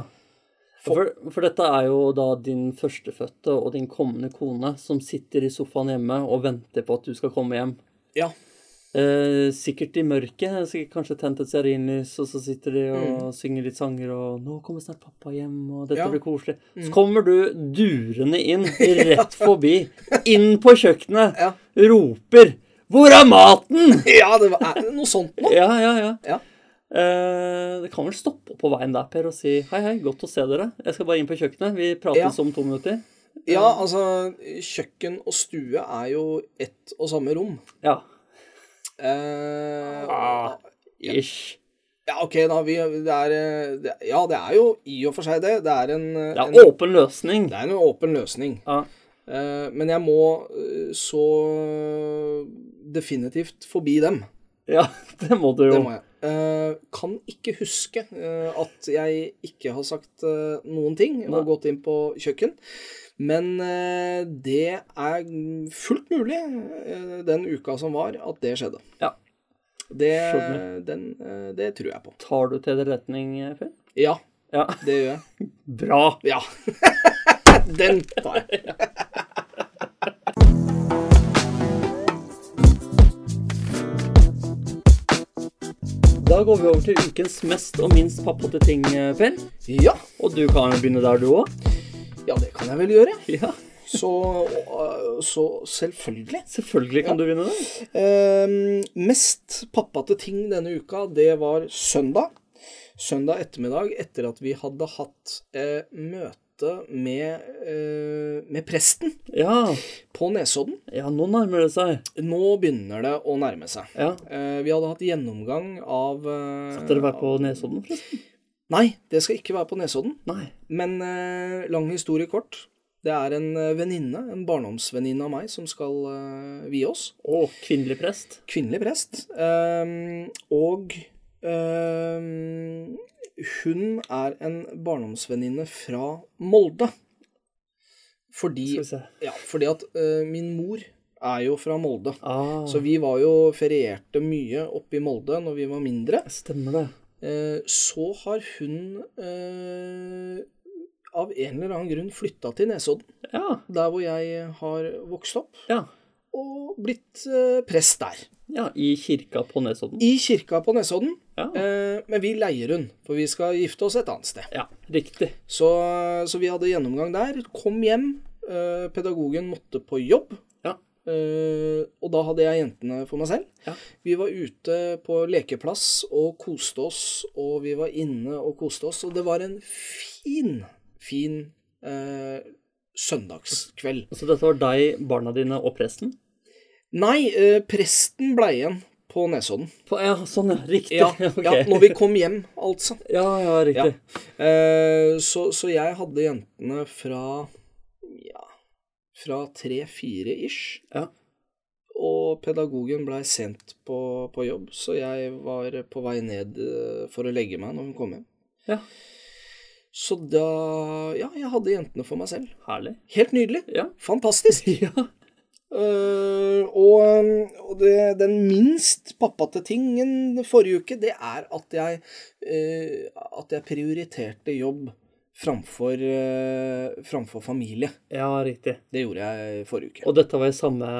Speaker 2: For, for dette er jo da din førstefødte og din kommende kone som sitter i sofaen hjemme og venter på at du skal komme hjem.
Speaker 1: Ja.
Speaker 2: Eh, sikkert i mørket. sikkert Kanskje tent et stearinlys, og så sitter de og synger litt sanger og 'Nå kommer snart pappa hjem, og
Speaker 1: Mm.
Speaker 2: dette
Speaker 1: Ja. Mm.
Speaker 2: blir koselig'. Så kommer du durende inn, rett forbi, inn på kjøkkenet,
Speaker 1: Ja.
Speaker 2: roper 'Hvor er maten?!'
Speaker 1: Ja, det var, er det noe sånt nå.
Speaker 2: Ja, ja, ja.
Speaker 1: Ja.
Speaker 2: Eh, det kan vel stoppe på veien der, Per, og si 'Hei, hei, godt å se dere. Jeg skal bare inn på kjøkkenet. Vi prates om to minutter.'
Speaker 1: Ja, altså, kjøkken og stue er jo ett og samme rom.
Speaker 2: Ja.
Speaker 1: Eh,
Speaker 2: Ah. Ish.
Speaker 1: ja, ok, da. Vi, det er, eh, det, ja, det er jo i og for seg det. Det er en, eh,
Speaker 2: Det
Speaker 1: en,
Speaker 2: er åpen løsning.
Speaker 1: det er en åpen løsning.
Speaker 2: Ja.
Speaker 1: Eh, men jeg må eh, så definitivt forbi dem.
Speaker 2: ja, det må du jo.
Speaker 1: Det må jeg. Eh, kan ikke huske eh, at jeg ikke har sagt eh, noen ting
Speaker 2: Nei.
Speaker 1: og gått inn på kjøkken. Men eh, det er fullt mulig eh, den uka som var, at det skjedde.
Speaker 2: Ja.
Speaker 1: Det,
Speaker 2: Skjønner.
Speaker 1: den, eh, det tror jeg på.
Speaker 2: Tar du til etterretning, Per?
Speaker 1: Ja,
Speaker 2: Ja.
Speaker 1: det gjør jeg.
Speaker 2: Bra.
Speaker 1: Ja. den tar jeg.
Speaker 2: Da går vi over til ukens mest og minst pappate ting, eh, Per.
Speaker 1: Ja,
Speaker 2: Og du kan jo begynne der, du òg.
Speaker 1: ja, det kan jeg vel gjøre.
Speaker 2: Ja,
Speaker 1: Så, øh, så selvfølgelig.
Speaker 2: selvfølgelig kan du begynne der.
Speaker 1: Ehm, mest pappate ting denne uka, det var søndag. Søndag ettermiddag etter at vi hadde hatt eh, møte med, eh, med presten
Speaker 2: Ja,
Speaker 1: på Nesodden.
Speaker 2: ja nå nærmer det seg.
Speaker 1: Nå begynner det å nærme seg.
Speaker 2: Ja.
Speaker 1: Eh, vi hadde hatt gjennomgang av eh,
Speaker 2: Skal dere være på Nesodden, forresten?
Speaker 1: Nei, det skal ikke være på Nesodden.
Speaker 2: Nei.
Speaker 1: Men eh, lang historie kort. Det er en eh, venninne, en barndomsvenninne av meg, som skal eh, vie oss.
Speaker 2: Å, kvinnelig prest.
Speaker 1: Kvinnelig prest. Ehm, og ehm, hun er en barndomsvenninne fra Molde. Fordi,
Speaker 2: Skal vi se.
Speaker 1: ja, fordi at eh, min mor er jo fra Molde.
Speaker 2: Ah,
Speaker 1: Så vi var jo ferierte mye oppe i Molde når vi var mindre.
Speaker 2: stemmer det.
Speaker 1: Eh, så har hun eh, av en eller annen grunn flytta til Nesodden,
Speaker 2: Ja.
Speaker 1: der hvor jeg har vokst opp,
Speaker 2: Ja.
Speaker 1: og blitt eh, prest der.
Speaker 2: ja I kirka på Nesodden.
Speaker 1: I kirka på Nesodden,
Speaker 2: Ja.
Speaker 1: eh, men vi leier hun, for vi skal gifte oss et annet sted.
Speaker 2: ja, riktig.
Speaker 1: Så, så vi hadde gjennomgang der. Kom hjem. Eh, pedagogen måtte på jobb.
Speaker 2: Ja.
Speaker 1: Eh, og da hadde jeg jentene for meg selv.
Speaker 2: Ja.
Speaker 1: Vi var ute på lekeplass og koste oss, og vi var inne og koste oss. Og det var en fin, fin eh, søndagskveld.
Speaker 2: Så dette var deg, barna dine og presten?
Speaker 1: Nei, eh, presten ble igjen på Nesodden.
Speaker 2: På, ja, sånn, ja. Riktig.
Speaker 1: Ja,
Speaker 2: ok.
Speaker 1: ja, når vi kom hjem, altså.
Speaker 2: ja, ja, riktig.
Speaker 1: Eh, så, så jeg hadde jentene fra ja, fra tre-fire ish.
Speaker 2: Ja.
Speaker 1: Og pedagogen blei sent på, på jobb, så jeg var på vei ned eh, for å legge meg når hun kom hjem.
Speaker 2: Ja.
Speaker 1: Så da Ja, jeg hadde jentene for meg selv.
Speaker 2: Herlig.
Speaker 1: Helt nydelig.
Speaker 2: Ja.
Speaker 1: Fantastisk.
Speaker 2: ja.
Speaker 1: Eh, og og det, den minst pappate tingen forrige uke, det er at jeg, eh, at jeg prioriterte jobb framfor, eh, framfor familie.
Speaker 2: Ja, riktig.
Speaker 1: Det gjorde jeg forrige uke.
Speaker 2: Og dette var i samme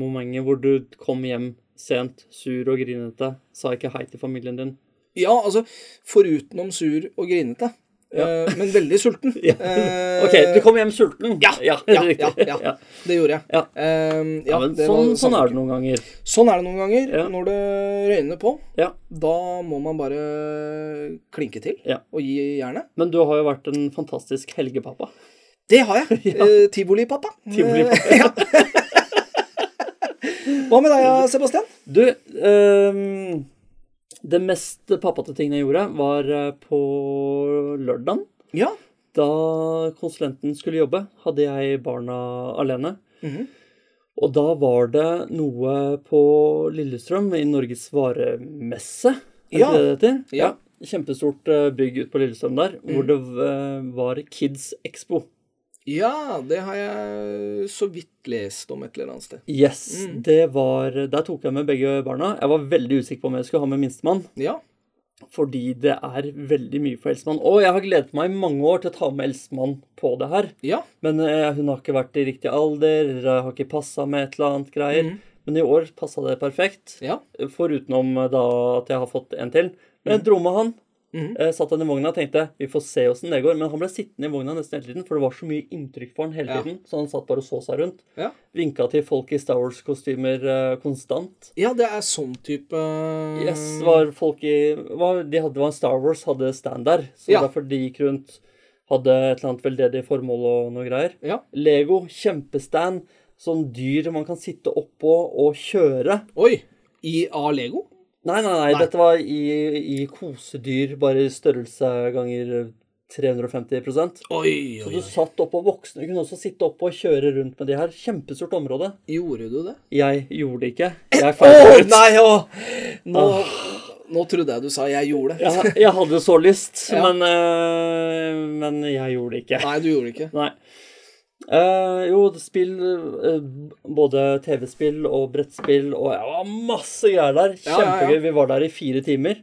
Speaker 2: momentet hvor du kom hjem sent, sur og grinete, sa ikke hei til familien din.
Speaker 1: Ja, altså forutenom sur og grinete.
Speaker 2: Ja.
Speaker 1: eh, men veldig sulten.
Speaker 2: Ja.
Speaker 1: Eh,
Speaker 2: OK, du kom hjem sulten.
Speaker 1: Ja, ja, ja, ja,
Speaker 2: riktig.
Speaker 1: ja. Det gjorde jeg.
Speaker 2: Ja.
Speaker 1: Eh, ja,
Speaker 2: Ja, men
Speaker 1: det var
Speaker 2: sånn, sånn
Speaker 1: samme
Speaker 2: er det
Speaker 1: uke.
Speaker 2: noen ganger.
Speaker 1: Sånn er det noen ganger
Speaker 2: Ja.
Speaker 1: når det røyner på.
Speaker 2: Ja,
Speaker 1: Da må man bare klinke til
Speaker 2: Ja.
Speaker 1: og gi jernet.
Speaker 2: Men du har jo vært en fantastisk helgepappa.
Speaker 1: Det har jeg. Eh, Tivolipappa.
Speaker 2: Tivolipappa.
Speaker 1: Eh, ja. Eh, Hva med deg, Sebastian?
Speaker 2: Du, ehm, det mest pappate tingene jeg gjorde, var eh, på lørdagen.
Speaker 1: Ja.
Speaker 2: Da konsulenten skulle jobbe, hadde jeg barna alene.
Speaker 1: Mhm.
Speaker 2: Og da var det noe på Lillestrøm, i Norges varemesse. Er
Speaker 1: Ja.
Speaker 2: ikke det det heter?
Speaker 1: Ja. Mm.
Speaker 2: Kjempestort eh, bygg ute på Lillestrøm der, hvor det eh, var Kids Expo.
Speaker 1: ja, det har jeg så vidt lest om et eller annet sted.
Speaker 2: Yes,
Speaker 1: Mm.
Speaker 2: det var Der tok jeg med begge barna. Jeg var veldig usikker på om jeg skulle ha med minstemann,
Speaker 1: Ja.
Speaker 2: fordi det er veldig mye for eldstemann. Og jeg har gledet meg i mange år til å ta med eldstemann på det her.
Speaker 1: Ja.
Speaker 2: Men eh, hun har ikke vært i riktig alder, eller har ikke passa med et eller annet greier.
Speaker 1: Mhm.
Speaker 2: Men i år passa det perfekt.
Speaker 1: Mm. Ja.
Speaker 2: Forutenom eh, da at jeg har fått en til. Men
Speaker 1: Mm.
Speaker 2: jeg dro med han.
Speaker 1: Mhm.
Speaker 2: eh, Satt han i vogna og tenkte vi får se åssen det går. Men han ble sittende i vogna nesten hele tiden, for det var så mye inntrykk for han hele
Speaker 1: Ja.
Speaker 2: tiden. Så han satt bare og så seg rundt.
Speaker 1: Ja.
Speaker 2: Vinka til folk i Star Wars-kostymer eh, konstant.
Speaker 1: ja, det er sånn type eh,
Speaker 2: Yes, var folk i var, de hadde, var en Star Wars hadde stand der, så
Speaker 1: Ja.
Speaker 2: derfor de gikk rundt. Hadde et eller annet veldedig formål og noe greier.
Speaker 1: Ja.
Speaker 2: Lego, kjempestand. Sånn dyr man kan sitte oppå og kjøre.
Speaker 1: Oi! I A-Lego?
Speaker 2: Nei, nei, nei,
Speaker 1: Nei.
Speaker 2: dette var i, i kosedyr, bare i størrelse ganger 350 Så
Speaker 1: Oi, oi,
Speaker 2: du
Speaker 1: oi.
Speaker 2: satt oppå voksne. Du kunne også sitte oppå og kjøre rundt med de her. Kjempestort område.
Speaker 1: Gjorde du det?
Speaker 2: Jeg gjorde det ikke. Jeg fant ut.
Speaker 1: nei, å! Nå, nå trodde jeg du sa 'jeg gjorde det'.
Speaker 2: Jeg, jeg hadde så lyst,
Speaker 1: Ja.
Speaker 2: men, eh, men jeg gjorde det ikke.
Speaker 1: Nei, du gjorde det ikke.
Speaker 2: Nei. Eh, jo, spill eh, Både TV-spill og brettspill og ja, det var masse greier der.
Speaker 1: Ja, ja,
Speaker 2: Kjempegøy.
Speaker 1: ja.
Speaker 2: Vi var der i fire timer.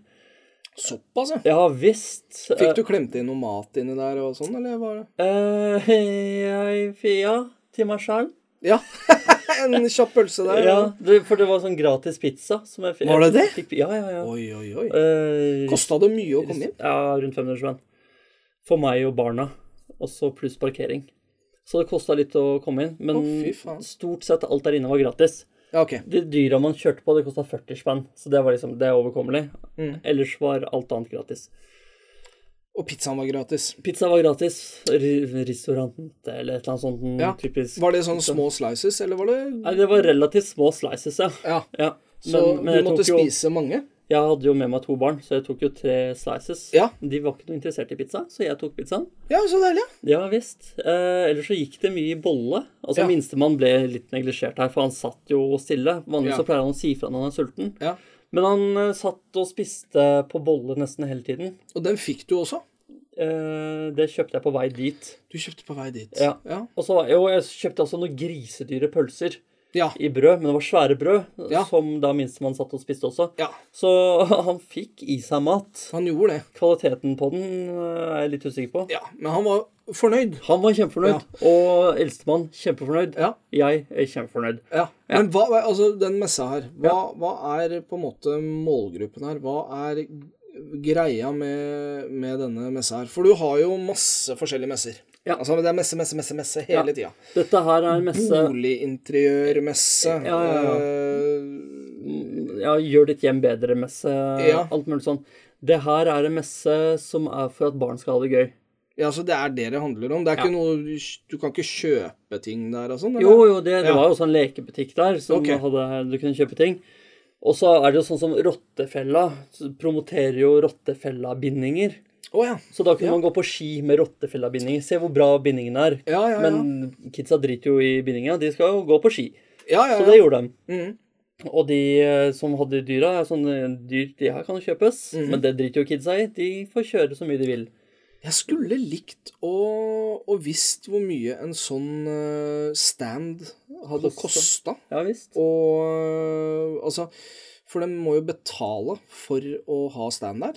Speaker 1: Såpass, ja.
Speaker 2: Ja visst.
Speaker 1: Fikk du klemt inn noe mat inni der og sånn, eller var det
Speaker 2: Eh, eh, jeg, ja, til meg sjæl.
Speaker 1: Ja. en kjapp pølse der.
Speaker 2: Ja, det- for det var sånn gratis pizza. Som jeg, fi-
Speaker 1: Var det det?
Speaker 2: jeg Fikk, ja, ja, ja.
Speaker 1: Oi, oi, oi.
Speaker 2: Eh,
Speaker 1: Kosta det mye å komme inn?
Speaker 2: Ja, rundt 500 spenn. For meg og barna. Også pluss parkering. Så det kosta litt å komme inn. Men
Speaker 1: Å, fy faen.
Speaker 2: stort sett alt der inne var gratis.
Speaker 1: Ja, OK.
Speaker 2: De dyra man kjørte på, det kosta 40 spenn. Så det var liksom, det er overkommelig.
Speaker 1: Mm.
Speaker 2: Ellers var alt annet gratis.
Speaker 1: Og pizzaen var gratis.
Speaker 2: Pizza var gratis. ri- Restauranten eller et eller annet sånt
Speaker 1: Ja.
Speaker 2: typisk.
Speaker 1: Var det sånne små slices, eller var det
Speaker 2: Nei, det var relativt små slices, ja.
Speaker 1: Ja.
Speaker 2: ja.
Speaker 1: Så
Speaker 2: jeg
Speaker 1: du måtte
Speaker 2: tok jo,
Speaker 1: spise mange?
Speaker 2: Jeg hadde jo med meg to barn, så jeg tok jo tre slices.
Speaker 1: Ja.
Speaker 2: De var ikke noe interessert i pizza, så jeg tok pizzaen.
Speaker 1: Ja, så deilig. ja.
Speaker 2: Ja visst. Eh, ellers så gikk det mye i bolle. Altså
Speaker 1: Ja.
Speaker 2: Minstemann ble litt neglisjert her, for han satt jo stille. Vanligvis
Speaker 1: Ja.
Speaker 2: så pleier han å si fra når han er sulten.
Speaker 1: Ja.
Speaker 2: Men han eh, satt og spiste på bolle nesten hele tiden.
Speaker 1: Og den fikk du også?
Speaker 2: Eh, det kjøpte jeg på vei dit.
Speaker 1: Du kjøpte på vei dit.
Speaker 2: Ja.
Speaker 1: Ja.
Speaker 2: Og så jo, jeg kjøpte også noen grisedyre pølser
Speaker 1: Ja.
Speaker 2: i brød, men det var svære brød,
Speaker 1: Ja.
Speaker 2: som da minstemann satt og spiste også.
Speaker 1: ja.
Speaker 2: Så han fikk i seg mat.
Speaker 1: Han gjorde det.
Speaker 2: Kvaliteten på den eh, er jeg litt usikker på.
Speaker 1: Ja. Men han var fornøyd.
Speaker 2: Han var kjempefornøyd, og eldstemann kjempefornøyd.
Speaker 1: Ja.
Speaker 2: Jeg er kjempefornøyd.
Speaker 1: Ja. Men hva, hva- altså, den messa her, hva, hva er på en måte målgruppen her? Hva er greia med, med denne messa her? For du har jo masse forskjellige messer.
Speaker 2: Ja.
Speaker 1: Altså, det er messe, messe, messe, messe hele tida.
Speaker 2: Dette her er en messe
Speaker 1: Boliginteriørmesse.
Speaker 2: Ja, ja, ja.
Speaker 1: eh,
Speaker 2: ja, Gjør ditt hjem bedre-messe.
Speaker 1: Ja.
Speaker 2: Alt mulig sånn. Det her er en messe som er for at barn skal ha det gøy.
Speaker 1: ja, så det er det det handler om. Det er
Speaker 2: Ja.
Speaker 1: ikke noe Du kan ikke kjøpe ting der og sånn? eller?
Speaker 2: Jo, jo, det, det
Speaker 1: Ja.
Speaker 2: var jo sånn lekebutikk der som
Speaker 1: Ok.
Speaker 2: hadde, du kunne kjøpe ting. Og så er det jo sånn som Rottefella så promoterer jo Rottefella-bindinger.
Speaker 1: Å ja.
Speaker 2: Så da kunne
Speaker 1: Ja.
Speaker 2: man gå på ski med Rottefella-bindinger. Se hvor bra bindingen er.
Speaker 1: Ja, ja, ja.
Speaker 2: Men kidsa driter jo i bindinga. De skal jo gå på ski.
Speaker 1: ja, ja,
Speaker 2: Så
Speaker 1: ja.
Speaker 2: det gjorde de.
Speaker 1: Mhm.
Speaker 2: Og de eh, som hadde dyra, er sånne dyr de her kan jo kjøpes,
Speaker 1: Mhm.
Speaker 2: men det driter jo kidsa i. De får kjøre så mye de vil.
Speaker 1: Jeg skulle likt å, å visst hvor mye en sånn eh, stand hadde
Speaker 2: Kosta.
Speaker 1: kosta.
Speaker 2: Ja visst.
Speaker 1: Og øh, altså For de må jo betale for å ha stand der.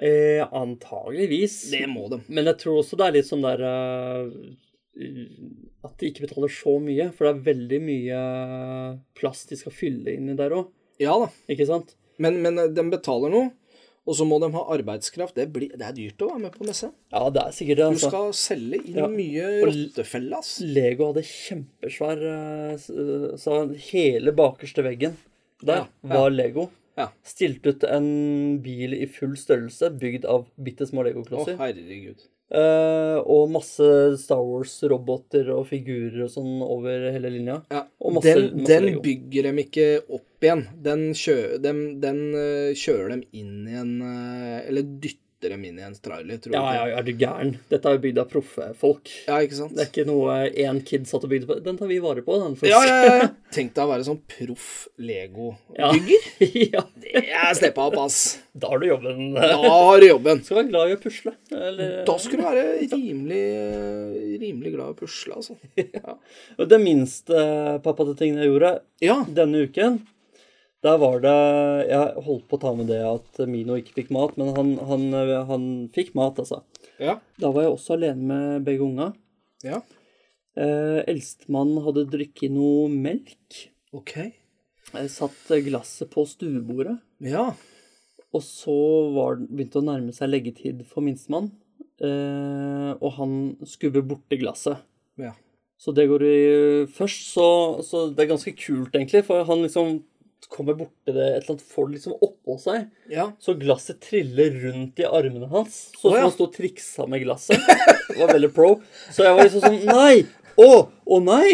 Speaker 2: Eh, antageligvis.
Speaker 1: Det må de.
Speaker 2: Men jeg tror også det er litt sånn der eh, At de ikke betaler så mye, for det er veldig mye plass de skal fylle inni der òg.
Speaker 1: Ja da.
Speaker 2: Ikke sant?
Speaker 1: Men, men de betaler noe. Og så må de ha arbeidskraft. Det, blir, det er dyrt å være med på messe.
Speaker 2: Ja, det er sikkert det.
Speaker 1: Du
Speaker 2: Altså.
Speaker 1: skal selge inn
Speaker 2: Ja.
Speaker 1: mye
Speaker 2: Og l-
Speaker 1: rottefelle, ass.
Speaker 2: Lego hadde kjempesvær eh, s- eh, Så hele bakerste veggen der
Speaker 1: Ja, ja.
Speaker 2: var Lego.
Speaker 1: Ja.
Speaker 2: Stilt ut en bil i full størrelse, bygd av bitte små
Speaker 1: Å,
Speaker 2: legoklosser.
Speaker 1: herregud.
Speaker 2: Eh, og masse Star Wars-roboter og figurer og sånn over hele linja.
Speaker 1: Ja.
Speaker 2: Og masse-
Speaker 1: den
Speaker 2: masse
Speaker 1: den
Speaker 2: Lego.
Speaker 1: bygger dem ikke opp igjen. Den, kjø, dem, den øh, kjører dem inn i en øh, Eller dytter dem inn i en trailer, tror
Speaker 2: Ja, ja,
Speaker 1: jeg.
Speaker 2: ja, er du gæren? Dette er jo bygd av proffe folk.
Speaker 1: Ja, ikke sant?
Speaker 2: Det er ikke noe én kid satt og bygde på. Den tar vi vare på, den.
Speaker 1: Ja, ja, ja. Tenk deg å være sånn proff Lego-bygger.
Speaker 2: ja. ja.
Speaker 1: Jeg steppa opp, ass.
Speaker 2: Da har du jobben.
Speaker 1: Da har du jobben.
Speaker 2: Skal være glad i å pusle. Eller
Speaker 1: Da skulle du være rimelig, eh, rimelig glad i å pusle, altså. Ja.
Speaker 2: Og Det minste eh, pappate tingen jeg gjorde
Speaker 1: ja.
Speaker 2: denne uken, der var det Jeg holdt på å ta med det at Mino ikke fikk mat, men han, han, han fikk mat, altså.
Speaker 1: Ja.
Speaker 2: Da var jeg også alene med begge unga.
Speaker 1: ja.
Speaker 2: Eh, Eldstemann hadde drukket noe melk.
Speaker 1: Ok.
Speaker 2: Jeg satt glasset på stuebordet.
Speaker 1: Ja.
Speaker 2: Og så var, den- begynte det å nærme seg leggetid for minstemann. Eh, og han skubber borti glasset.
Speaker 1: Ja.
Speaker 2: Så det går i først, så, så det er ganske kult, egentlig. For han liksom kommer borti det, et eller annet får det liksom oppå seg.
Speaker 1: ja.
Speaker 2: Så glasset triller rundt i armene hans. Sånn
Speaker 1: Å, ja.
Speaker 2: som han sto og triksa med glasset. Det var veldig pro. Så jeg var liksom sånn Nei! Å! Å nei!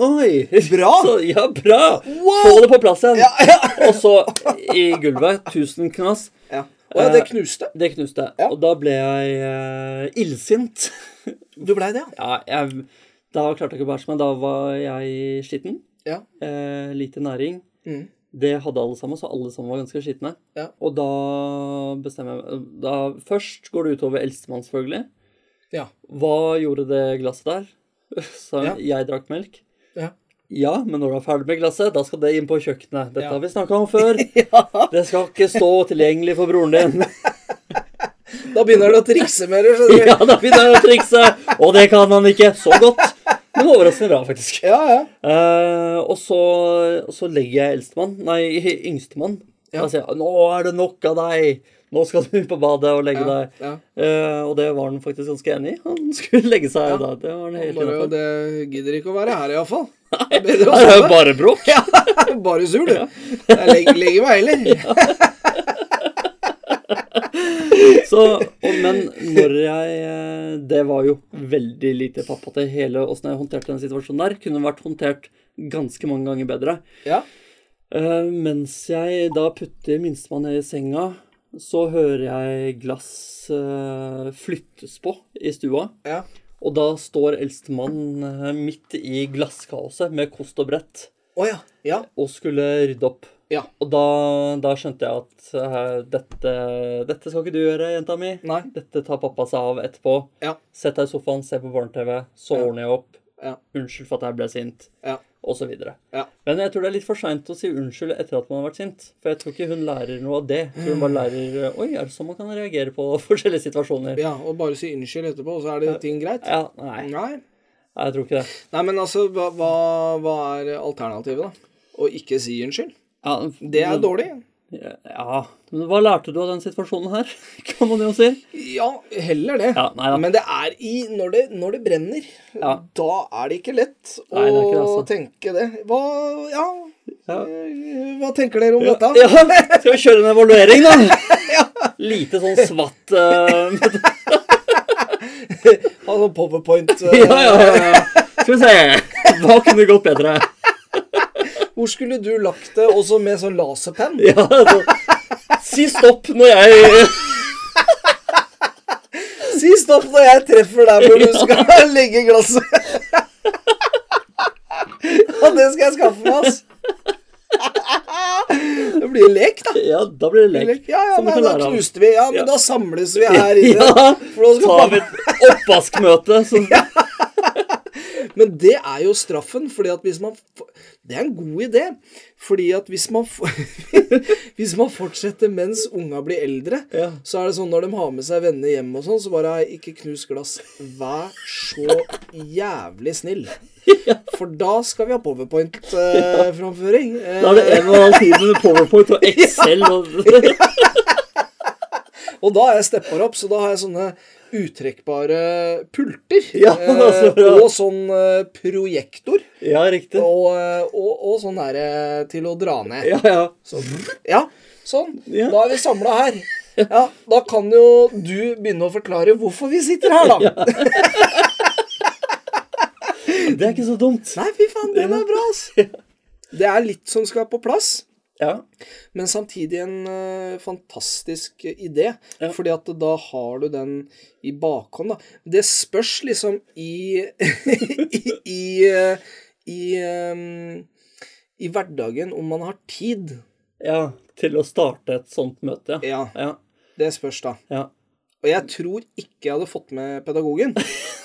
Speaker 2: Oi!
Speaker 1: Bra!
Speaker 2: Så, ja, bra! Få det på plass igjen. Og så i gulvet. Tusen knas.
Speaker 1: Ja. Å ja, det knuste.
Speaker 2: Det knuste.
Speaker 1: Ja.
Speaker 2: Og da ble jeg eh, illsint.
Speaker 1: Du blei det, ja?
Speaker 2: ja, jeg, da klarte jeg ikke å bæsje meg. Da var jeg skitten.
Speaker 1: Ja.
Speaker 2: Eh, lite næring.
Speaker 1: Mm.
Speaker 2: Det hadde alle sammen, så alle sammen var ganske skitne.
Speaker 1: Ja.
Speaker 2: Og da bestemmer jeg meg da, Først går det utover eldstemann, selvfølgelig.
Speaker 1: Ja.
Speaker 2: Hva gjorde det glasset der? Så
Speaker 1: Ja.
Speaker 2: jeg drakk melk.
Speaker 1: Ja.
Speaker 2: Ja, men når du er ferdig med glasset, da skal det inn på kjøkkenet. Dette
Speaker 1: Ja.
Speaker 2: har vi snakka om før. Det skal ikke stå tilgjengelig for broren din.
Speaker 1: Da begynner du å trikse mer. skjønner du.
Speaker 2: Ja, da begynner han å trikse, og det kan han ikke så godt. Men overraskende bra, faktisk.
Speaker 1: Ja, ja.
Speaker 2: Eh, og så, så legger jeg eldstemann, nei, yngstemann.
Speaker 1: Ja.
Speaker 2: Da sier jeg 'Nå er det nok av deg! Nå skal du på badet og legge
Speaker 1: ja,
Speaker 2: deg'.
Speaker 1: ja.
Speaker 2: Eh, og det var han faktisk ganske enig i. Han skulle legge seg
Speaker 1: Ja.
Speaker 2: da. Det var han helt
Speaker 1: Bare,
Speaker 2: innenfor.
Speaker 1: og det gidder ikke å være her, iallfall. Det er bedre å
Speaker 2: Her er jo
Speaker 1: sove.
Speaker 2: bare bråk!
Speaker 1: Bare sur, du. Jeg legger, legger meg heller.
Speaker 2: Så, og, men når jeg eh, Det var jo veldig lite pappa til hele åssen jeg håndterte den situasjonen der. Kunne vært håndtert ganske mange ganger bedre.
Speaker 1: Ja.
Speaker 2: Eh, mens jeg da putter minstemann ned i senga, så hører jeg glass eh, flyttes på i stua.
Speaker 1: Ja.
Speaker 2: Og da står eldstemann eh, midt i glasskaoset med kost og brett
Speaker 1: Å ja. Ja.
Speaker 2: og skulle rydde opp.
Speaker 1: Ja.
Speaker 2: Og da, da skjønte jeg at eh, dette, dette skal ikke du gjøre, jenta mi.
Speaker 1: Nei.
Speaker 2: Dette tar pappa seg av etterpå.
Speaker 1: Ja.
Speaker 2: Sett deg i sofaen, se på barne-TV, så
Speaker 1: Ja.
Speaker 2: ordner jeg opp.
Speaker 1: Ja.
Speaker 2: Unnskyld for at jeg ble sint,
Speaker 1: Ja.
Speaker 2: og så videre.
Speaker 1: Ja.
Speaker 2: Men jeg tror det er litt for seint å si unnskyld etter at man har vært sint. For jeg tror ikke hun lærer noe av det. Jeg tror hun bare lærer Oi, er det sånn man kan reagere på forskjellige situasjoner?
Speaker 1: ja. Og bare si unnskyld etterpå, så er det ting greit?
Speaker 2: Ja, nei,
Speaker 1: Nei.
Speaker 2: jeg tror ikke det.
Speaker 1: Nei, men altså, hva, hva, hva er alternativet, da? Å ikke si unnskyld?
Speaker 2: Ja,
Speaker 1: Det
Speaker 2: Mm.
Speaker 1: er dårlig.
Speaker 2: Ja. Men hva lærte du av den situasjonen her, kan man jo si?
Speaker 1: Ja, heller det.
Speaker 2: Ja, nei da.
Speaker 1: Men det er i Når det, når det brenner,
Speaker 2: Ja.
Speaker 1: da er det ikke lett å
Speaker 2: Nei, det er ikke det, altså.
Speaker 1: tenke det. Hva Ja,
Speaker 2: Ja.
Speaker 1: eh, hva tenker dere om dette?
Speaker 2: Ja, skal vi kjøre en evaluering, da? Lite sånn svatt eh,
Speaker 1: Ha sånn powerpoint. eh,
Speaker 2: Ja, ja, ja, ja. Skal vi se. Hva kunne gått bedre?
Speaker 1: Hvor skulle du lagt det også med sånn laserpenn?
Speaker 2: Ja, altså, si stopp når jeg
Speaker 1: Si stopp når jeg treffer der hvor du skal legge glasset. Ja, det skal jeg skaffe meg, ass. Det blir lek, da.
Speaker 2: Ja, da blir det lek.
Speaker 1: Lek. Ja, ja,
Speaker 2: som du
Speaker 1: men
Speaker 2: kan
Speaker 1: da
Speaker 2: lære av.
Speaker 1: knuste vi. Ja, men
Speaker 2: Ja.
Speaker 1: da samles vi her inne.
Speaker 2: Ja,
Speaker 1: For nå skal
Speaker 2: tar vi
Speaker 1: pappa-
Speaker 2: et oppvaskmøte. som-
Speaker 1: Men det er jo straffen, fordi at hvis man f- Det er en god idé. Fordi at hvis man, f- hvis man fortsetter mens unga blir eldre,
Speaker 2: Ja.
Speaker 1: så er det sånn når de har med seg venner hjem og sånn, så bare ikke knus glass. Vær så jævlig snill. For da skal vi ha eh, powerpoint-framføring.
Speaker 2: Da er det en og en halv time med Powerpoint og Excel og
Speaker 1: Og da er jeg stepper opp, så da har jeg sånne uttrekkbare pulter.
Speaker 2: Ja,
Speaker 1: eh,
Speaker 2: så bra.
Speaker 1: og sånn eh, projektor.
Speaker 2: Ja, riktig.
Speaker 1: Og, eh, og, og sånn der eh, til å dra ned.
Speaker 2: Ja, ja.
Speaker 1: Sånn. Ja, sånn.
Speaker 2: Ja.
Speaker 1: Da er vi samla her. Ja, Da kan jo du begynne å forklare hvorfor vi sitter her, da.
Speaker 2: Det er ikke så dumt.
Speaker 1: Nei, fy faen, den er bra, ass. Det er litt som skal på plass.
Speaker 2: Ja.
Speaker 1: Men samtidig en eh, fantastisk eh, idé, fordi at da har du den i bakhånd. Da. Det spørs liksom i I, i, eh, i, eh, i hverdagen om man har tid.
Speaker 2: ja. Til å starte et sånt møte,
Speaker 1: Ja,
Speaker 2: ja. Ja.
Speaker 1: det spørs, da.
Speaker 2: ja.
Speaker 1: Og jeg tror ikke jeg hadde fått med pedagogen.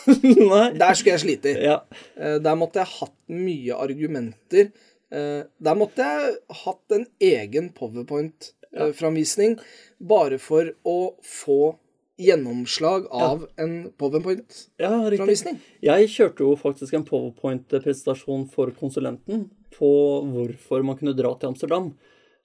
Speaker 2: Nei.
Speaker 1: Der skulle jeg slite.
Speaker 2: Ja.
Speaker 1: Eh, Der måtte jeg hatt mye argumenter. Eh, Der måtte jeg hatt en egen powerpoint-framvisning bare for å få gjennomslag av en powerpoint-framvisning.
Speaker 2: ja, riktig. Jeg kjørte jo faktisk en powerpoint-presentasjon for konsulenten på hvorfor man kunne dra til Amsterdam.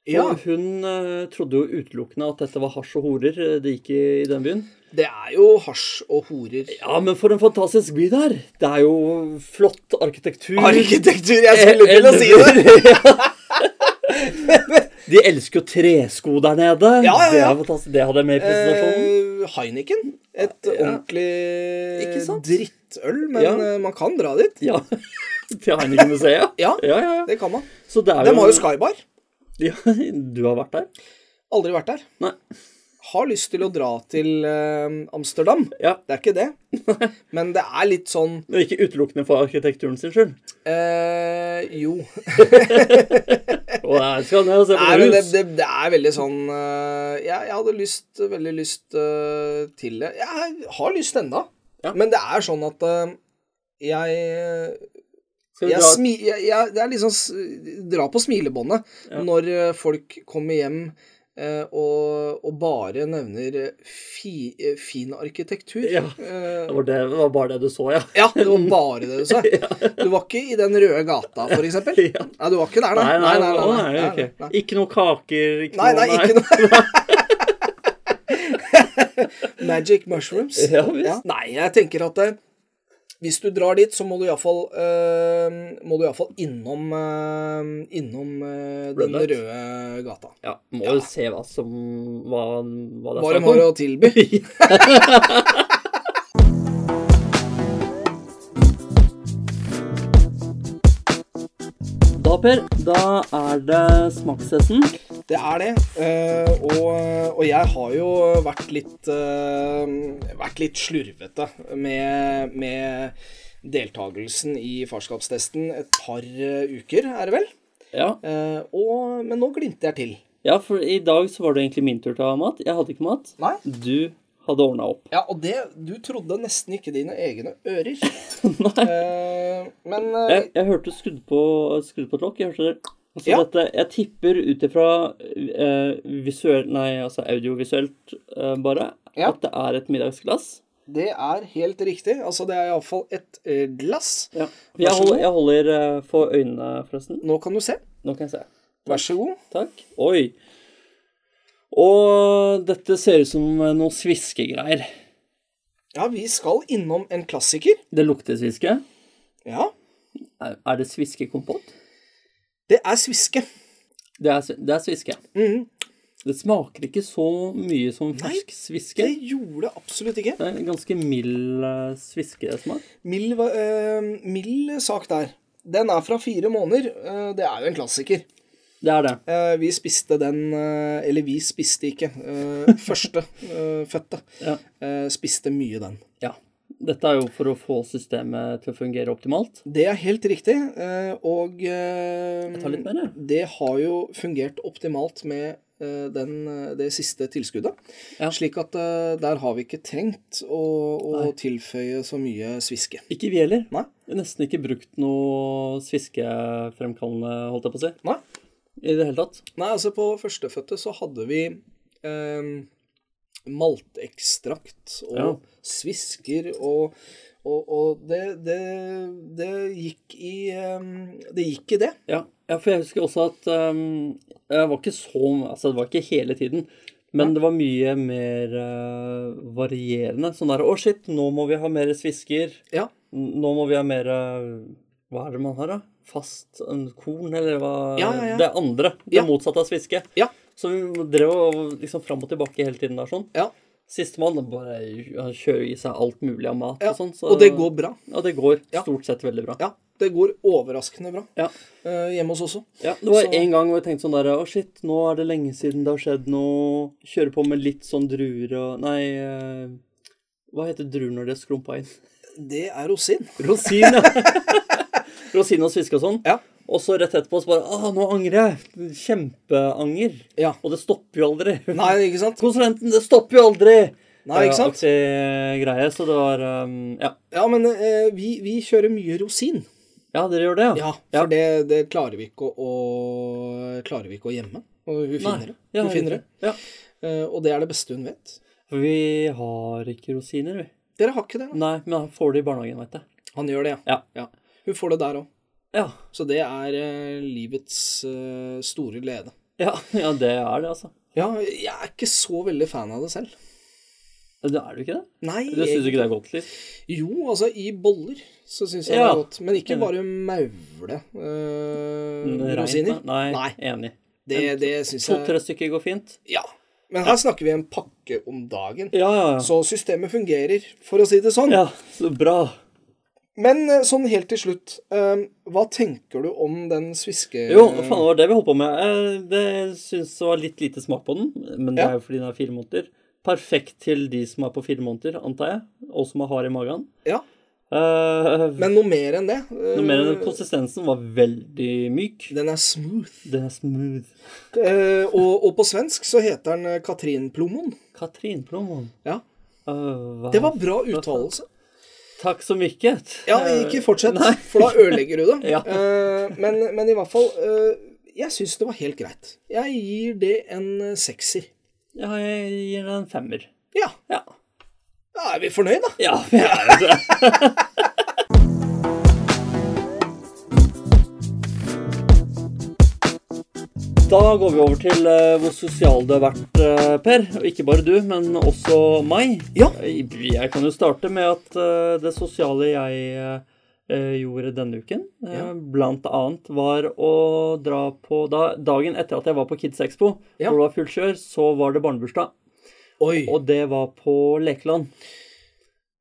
Speaker 2: For
Speaker 1: Ja.
Speaker 2: Hun eh, trodde jo utelukkende at dette var hasj og horer eh, det gikk i, i den byen.
Speaker 1: Det er jo hasj og horer.
Speaker 2: Ja, men for en fantastisk by der! Det er jo flott arkitektur.
Speaker 1: Arkitektur! Jeg
Speaker 2: De elsker jo tresko der nede.
Speaker 1: Ja, ja,
Speaker 2: Det,
Speaker 1: ja.
Speaker 2: er fantastisk. det hadde jeg med i presentasjonen.
Speaker 1: Eh, Heineken. Et ordentlig
Speaker 2: Ikke sant?
Speaker 1: drittøl, men
Speaker 2: Ja.
Speaker 1: eh, man kan dra dit.
Speaker 2: Ja. til Heineken-museet.
Speaker 1: Ja,
Speaker 2: Ja, ja, ja.
Speaker 1: det kan man.
Speaker 2: Så det er
Speaker 1: De har jo Skybar.
Speaker 2: Ja, du har vært der?
Speaker 1: Aldri vært der.
Speaker 2: Nei.
Speaker 1: Har lyst til å dra til eh, Amsterdam.
Speaker 2: Ja.
Speaker 1: Det er ikke det. Men det er litt sånn
Speaker 2: Men ikke utelukkende for arkitekturen sin skyld.
Speaker 1: eh, Jo.
Speaker 2: Og jeg skal ned og se på
Speaker 1: Nei,
Speaker 2: det
Speaker 1: men det,
Speaker 2: hus.
Speaker 1: det, det er veldig sånn eh, jeg, jeg hadde lyst, veldig lyst eh, til det. Jeg har lyst ennå.
Speaker 2: Ja.
Speaker 1: Men det er sånn at eh, jeg,
Speaker 2: Skal vi
Speaker 1: jeg,
Speaker 2: dra
Speaker 1: smi, jeg, jeg Det er liksom s- dra på smilebåndet når eh, folk kommer hjem eh, og, og bare nevner fi, eh, fin arkitektur.
Speaker 2: Ja.
Speaker 1: Eh,
Speaker 2: Det var, det, det var bare det du så, ja.
Speaker 1: ja, det var bare det du sa. Du var ikke i den røde gata, for eksempel.
Speaker 2: Ja.
Speaker 1: Nei, du var ikke der,
Speaker 2: Nei, nei, nei. nei,
Speaker 1: nei, nei,
Speaker 2: ok.
Speaker 1: nei.
Speaker 2: Ikke noe kaker, ikke
Speaker 1: Nei,
Speaker 2: noe
Speaker 1: nei, ikke noe Magic mushrooms.
Speaker 2: Ja, visst.
Speaker 1: Nei, jeg tenker at eh, hvis du drar dit, så må du iallfall øh, Må du iallfall innom eh, Innom eh, den
Speaker 2: Red light.
Speaker 1: røde gata.
Speaker 2: Ja, må jo se hva som Hva, hva det
Speaker 1: Bare
Speaker 2: er snakk
Speaker 1: har
Speaker 2: om.
Speaker 1: å tilby.
Speaker 2: Da, Per, da er det smaksessen.
Speaker 1: Det er det. eh, og, og jeg har jo vært litt eh, Vært litt slurvete med, med deltakelsen i farskapstesten et par eh, uker, er det vel?
Speaker 2: Ja.
Speaker 1: Eh, og, men nå glimter jeg til.
Speaker 2: ja, for i dag så var det egentlig min tur til å ha mat. Jeg hadde ikke mat.
Speaker 1: Nei.
Speaker 2: Du hadde ordna opp.
Speaker 1: Ja, og det Du trodde nesten ikke dine egne ører.
Speaker 2: Nei.
Speaker 1: Eh, men eh,
Speaker 2: Jeg, jeg hørte du skrudde på, skrudde på et lokk. Jeg hørte det. Altså,
Speaker 1: Ja.
Speaker 2: dette, jeg tipper ut ifra eh, visuelt Nei, altså audiovisuelt eh, bare,
Speaker 1: Ja.
Speaker 2: at det er et middagsglass.
Speaker 1: det er helt riktig. Altså, det er iallfall et eh, glass.
Speaker 2: Ja.
Speaker 1: Vær
Speaker 2: Jeg
Speaker 1: så
Speaker 2: holder,
Speaker 1: god.
Speaker 2: jeg holder eh, for øynene, forresten.
Speaker 1: Nå kan du se.
Speaker 2: Nå kan jeg se.
Speaker 1: Vær så god.
Speaker 2: Takk. Oi. Og dette ser ut som noe sviskegreier.
Speaker 1: Ja, vi skal innom en klassiker.
Speaker 2: Det lukter sviske.
Speaker 1: Ja.
Speaker 2: Er, er det sviskekompott?
Speaker 1: Det er sviske.
Speaker 2: Det er, svi- det er sviske.
Speaker 1: Mhm.
Speaker 2: Det smaker ikke så mye som fersk sviske.
Speaker 1: Det gjorde det absolutt ikke.
Speaker 2: Det er en ganske mild eh, sviskesmak.
Speaker 1: Mild, va- eh, mild sak der. Den er fra fire måneder. Eh, det er jo en klassiker.
Speaker 2: Det er det.
Speaker 1: Eh, vi spiste den eh, Eller vi spiste ikke. Eh, første eh, fødte
Speaker 2: Ja.
Speaker 1: eh, spiste mye den.
Speaker 2: ja. Dette er jo for å få systemet til å fungere optimalt.
Speaker 1: Det er helt riktig, eh, og eh,
Speaker 2: Jeg tar litt mer, jeg.
Speaker 1: det har jo fungert optimalt med eh, den, eh, det siste tilskuddet.
Speaker 2: Ja.
Speaker 1: Slik at eh, der har vi ikke trengt å, å tilføye så mye sviske.
Speaker 2: Ikke vi heller.
Speaker 1: Nei.
Speaker 2: Jeg har nesten ikke brukt noe sviskefremkallende, holdt jeg på å si.
Speaker 1: Nei.
Speaker 2: I det hele tatt.
Speaker 1: Nei, altså på førstefødte så hadde vi eh, maltekstrakt og
Speaker 2: Ja.
Speaker 1: svisker og og, og det, det, det gikk i eh, Det gikk i det.
Speaker 2: Ja, ja for jeg husker også at ehm, jeg var ikke så Altså, det var ikke hele tiden. Men det var mye mer eh, varierende. Sånn der Å, shit, nå må vi ha mer svisker.
Speaker 1: Ja.
Speaker 2: N- Nå må vi ha mer eh, Hva er det man har, da? Fast eh, korn, eller hva
Speaker 1: Ja, ja, ja.
Speaker 2: Det andre. Det
Speaker 1: Ja.
Speaker 2: motsatte av sviske.
Speaker 1: Ja.
Speaker 2: Så vi drev og liksom fram og tilbake hele tiden der sånn.
Speaker 1: Ja.
Speaker 2: Sistemann bare ja, kjører i seg alt mulig av mat
Speaker 1: ja.
Speaker 2: og sånn. så-
Speaker 1: Og det går bra.
Speaker 2: Ja, det går
Speaker 1: Ja.
Speaker 2: stort sett veldig bra.
Speaker 1: Ja, det går overraskende bra.
Speaker 2: Ja.
Speaker 1: Eh, hjemme hos oss også.
Speaker 2: Ja, det var
Speaker 1: Så-
Speaker 2: en gang hvor jeg tenkte sånn der Å, shit, nå er det lenge siden det har skjedd noe. Kjøre på med litt sånn druer og Nei, eh, hva heter druer når de er skrumpa inn?
Speaker 1: Det er rosin.
Speaker 2: Rosin, ja. Rosin og sviske og sånn.
Speaker 1: Ja.
Speaker 2: Og så rett etterpå så bare Å, nå angrer jeg. Kjempeanger.
Speaker 1: Ja.
Speaker 2: Og det stopper jo aldri.
Speaker 1: Nei, ikke sant?
Speaker 2: Konsulenten, det stopper jo aldri!
Speaker 1: Nei, ikke sant?
Speaker 2: Ja, aktig greie, så det var eh, Ja.
Speaker 1: Ja, men eh, vi, vi kjører mye rosin.
Speaker 2: Ja, dere gjør det, ja?
Speaker 1: Ja, for Det, det klarer vi ikke å, å Klarer vi ikke å gjemme. Og hun finner det.
Speaker 2: Ja,
Speaker 1: Hun finner det.
Speaker 2: Ja.
Speaker 1: Eh, og det er det beste hun vet.
Speaker 2: For vi har ikke rosiner, vi.
Speaker 1: Dere har ikke det? da.
Speaker 2: Nei, men han får det i barnehagen, veit jeg.
Speaker 1: Han gjør det,
Speaker 2: Ja.
Speaker 1: ja. Hun får det der òg.
Speaker 2: Ja,
Speaker 1: Så det er eh, livets eh, store glede.
Speaker 2: ja, ja det er det, altså.
Speaker 1: Ja, jeg er ikke så veldig fan av det selv.
Speaker 2: Det er du ikke det?
Speaker 1: Nei,
Speaker 2: Du syns ikke det er godt, liksom. litt?
Speaker 1: Jo, altså i boller så syns jeg
Speaker 2: Ja. Mm.
Speaker 1: det er godt. Men ikke bare maule eh,
Speaker 2: Reint,
Speaker 1: rosiner.
Speaker 2: da? Nei,
Speaker 1: Nei.
Speaker 2: enig.
Speaker 1: Det, det syns jeg
Speaker 2: To-tre stykker går fint?
Speaker 1: Ja. Men her snakker vi en pakke om dagen.
Speaker 2: Ja, ja, ja.
Speaker 1: Så systemet fungerer, for å si det sånn.
Speaker 2: Ja, så bra.
Speaker 1: Men eh, sånn helt til slutt, eh, hva tenker du om den sviske...
Speaker 2: Jo, hva faen det var det vi holdt på med? Eh, Det syns det var litt lite smak på den, men det
Speaker 1: Ja.
Speaker 2: er jo fordi den er fire måneder. Perfekt til de som er på fire måneder, antar jeg, og som er hard i magen.
Speaker 1: Ja,
Speaker 2: Eh,
Speaker 1: men noe mer enn det. eh,
Speaker 2: noe mer enn konsistensen var veldig myk.
Speaker 1: Den er smooth.
Speaker 2: Den er smooth.
Speaker 1: Eh, og, og på svensk så heter den eh, Katrinplommon.
Speaker 2: Katrinplommon.
Speaker 1: Ja,
Speaker 2: Uh,
Speaker 1: det var bra uttalelse.
Speaker 2: Takk så mye.
Speaker 1: Ja, ikke fortsett,
Speaker 2: Nei.
Speaker 1: for da ødelegger du det.
Speaker 2: Ja.
Speaker 1: Eh, men, men i hvert fall eh, jeg syns det var helt greit. Jeg gir det en eh, sekser.
Speaker 2: Ja, jeg gir den en femmer.
Speaker 1: Ja,
Speaker 2: Ja.
Speaker 1: da er vi fornøyd, da.
Speaker 2: Ja, vi er jo det. Da går vi over til eh, hvor sosial du har vært, eh, Per. Og ikke bare du, men også meg. Eh,
Speaker 1: Ja.
Speaker 2: Jeg kan jo starte med at eh, det sosiale jeg eh, gjorde denne uken, eh,
Speaker 1: Ja.
Speaker 2: blant annet var å dra på da, Dagen etter at jeg var på Kids Expo,
Speaker 1: Ja.
Speaker 2: hvor det var fullt kjør, så var det barnebursdag.
Speaker 1: Oi.
Speaker 2: Og det var på Lekeland.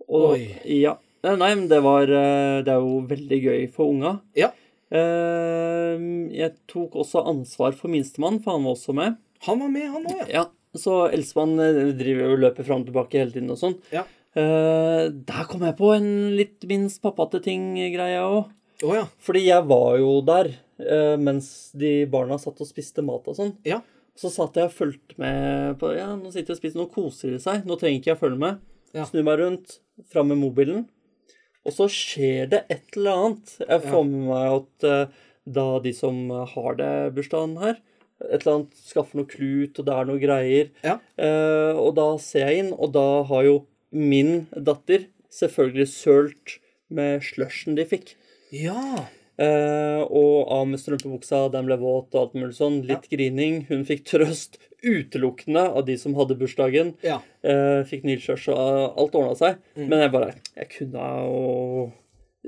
Speaker 2: Og,
Speaker 1: Oi.
Speaker 2: Ja. Nei, Nei, men det var eh, Det er jo veldig gøy for unga.
Speaker 1: Ja.
Speaker 2: Eh, Jeg tok også ansvar for minstemann, for han var også med.
Speaker 1: Han var med, han òg, ja.
Speaker 2: Ja. Så eldstemann eh, driver jo og løper fram og tilbake hele tiden og sånn.
Speaker 1: Ja.
Speaker 2: Eh, der kom jeg på en litt minst pappate ting-greie òg.
Speaker 1: Å ja.
Speaker 2: Fordi jeg var jo der eh, mens de barna satt og spiste mat og sånn.
Speaker 1: Ja.
Speaker 2: Så satt jeg og fulgte med på Ja, nå sitter jeg og spiser, nå koser de seg. Nå trenger ikke jeg følge med.
Speaker 1: Ja.
Speaker 2: Snur meg rundt, fram med mobilen. Og så skjer det et eller annet. Jeg får med meg at eh, da de som har det bursdagen her, et eller annet skaffer noe klut, og det er noe greier.
Speaker 1: Ja.
Speaker 2: Eh, og da ser jeg inn, og da har jo min datter selvfølgelig sølt med slushen de fikk.
Speaker 1: Ja.
Speaker 2: Eh, og av med strømpebuksa, den ble våt og alt mulig sånn. Litt grining. Hun fikk trøst utelukkende av de som hadde bursdagen.
Speaker 1: Ja.
Speaker 2: Eh, fikk nilskjørs og alt ordna seg.
Speaker 1: Mm.
Speaker 2: Men jeg bare Jeg kunne jo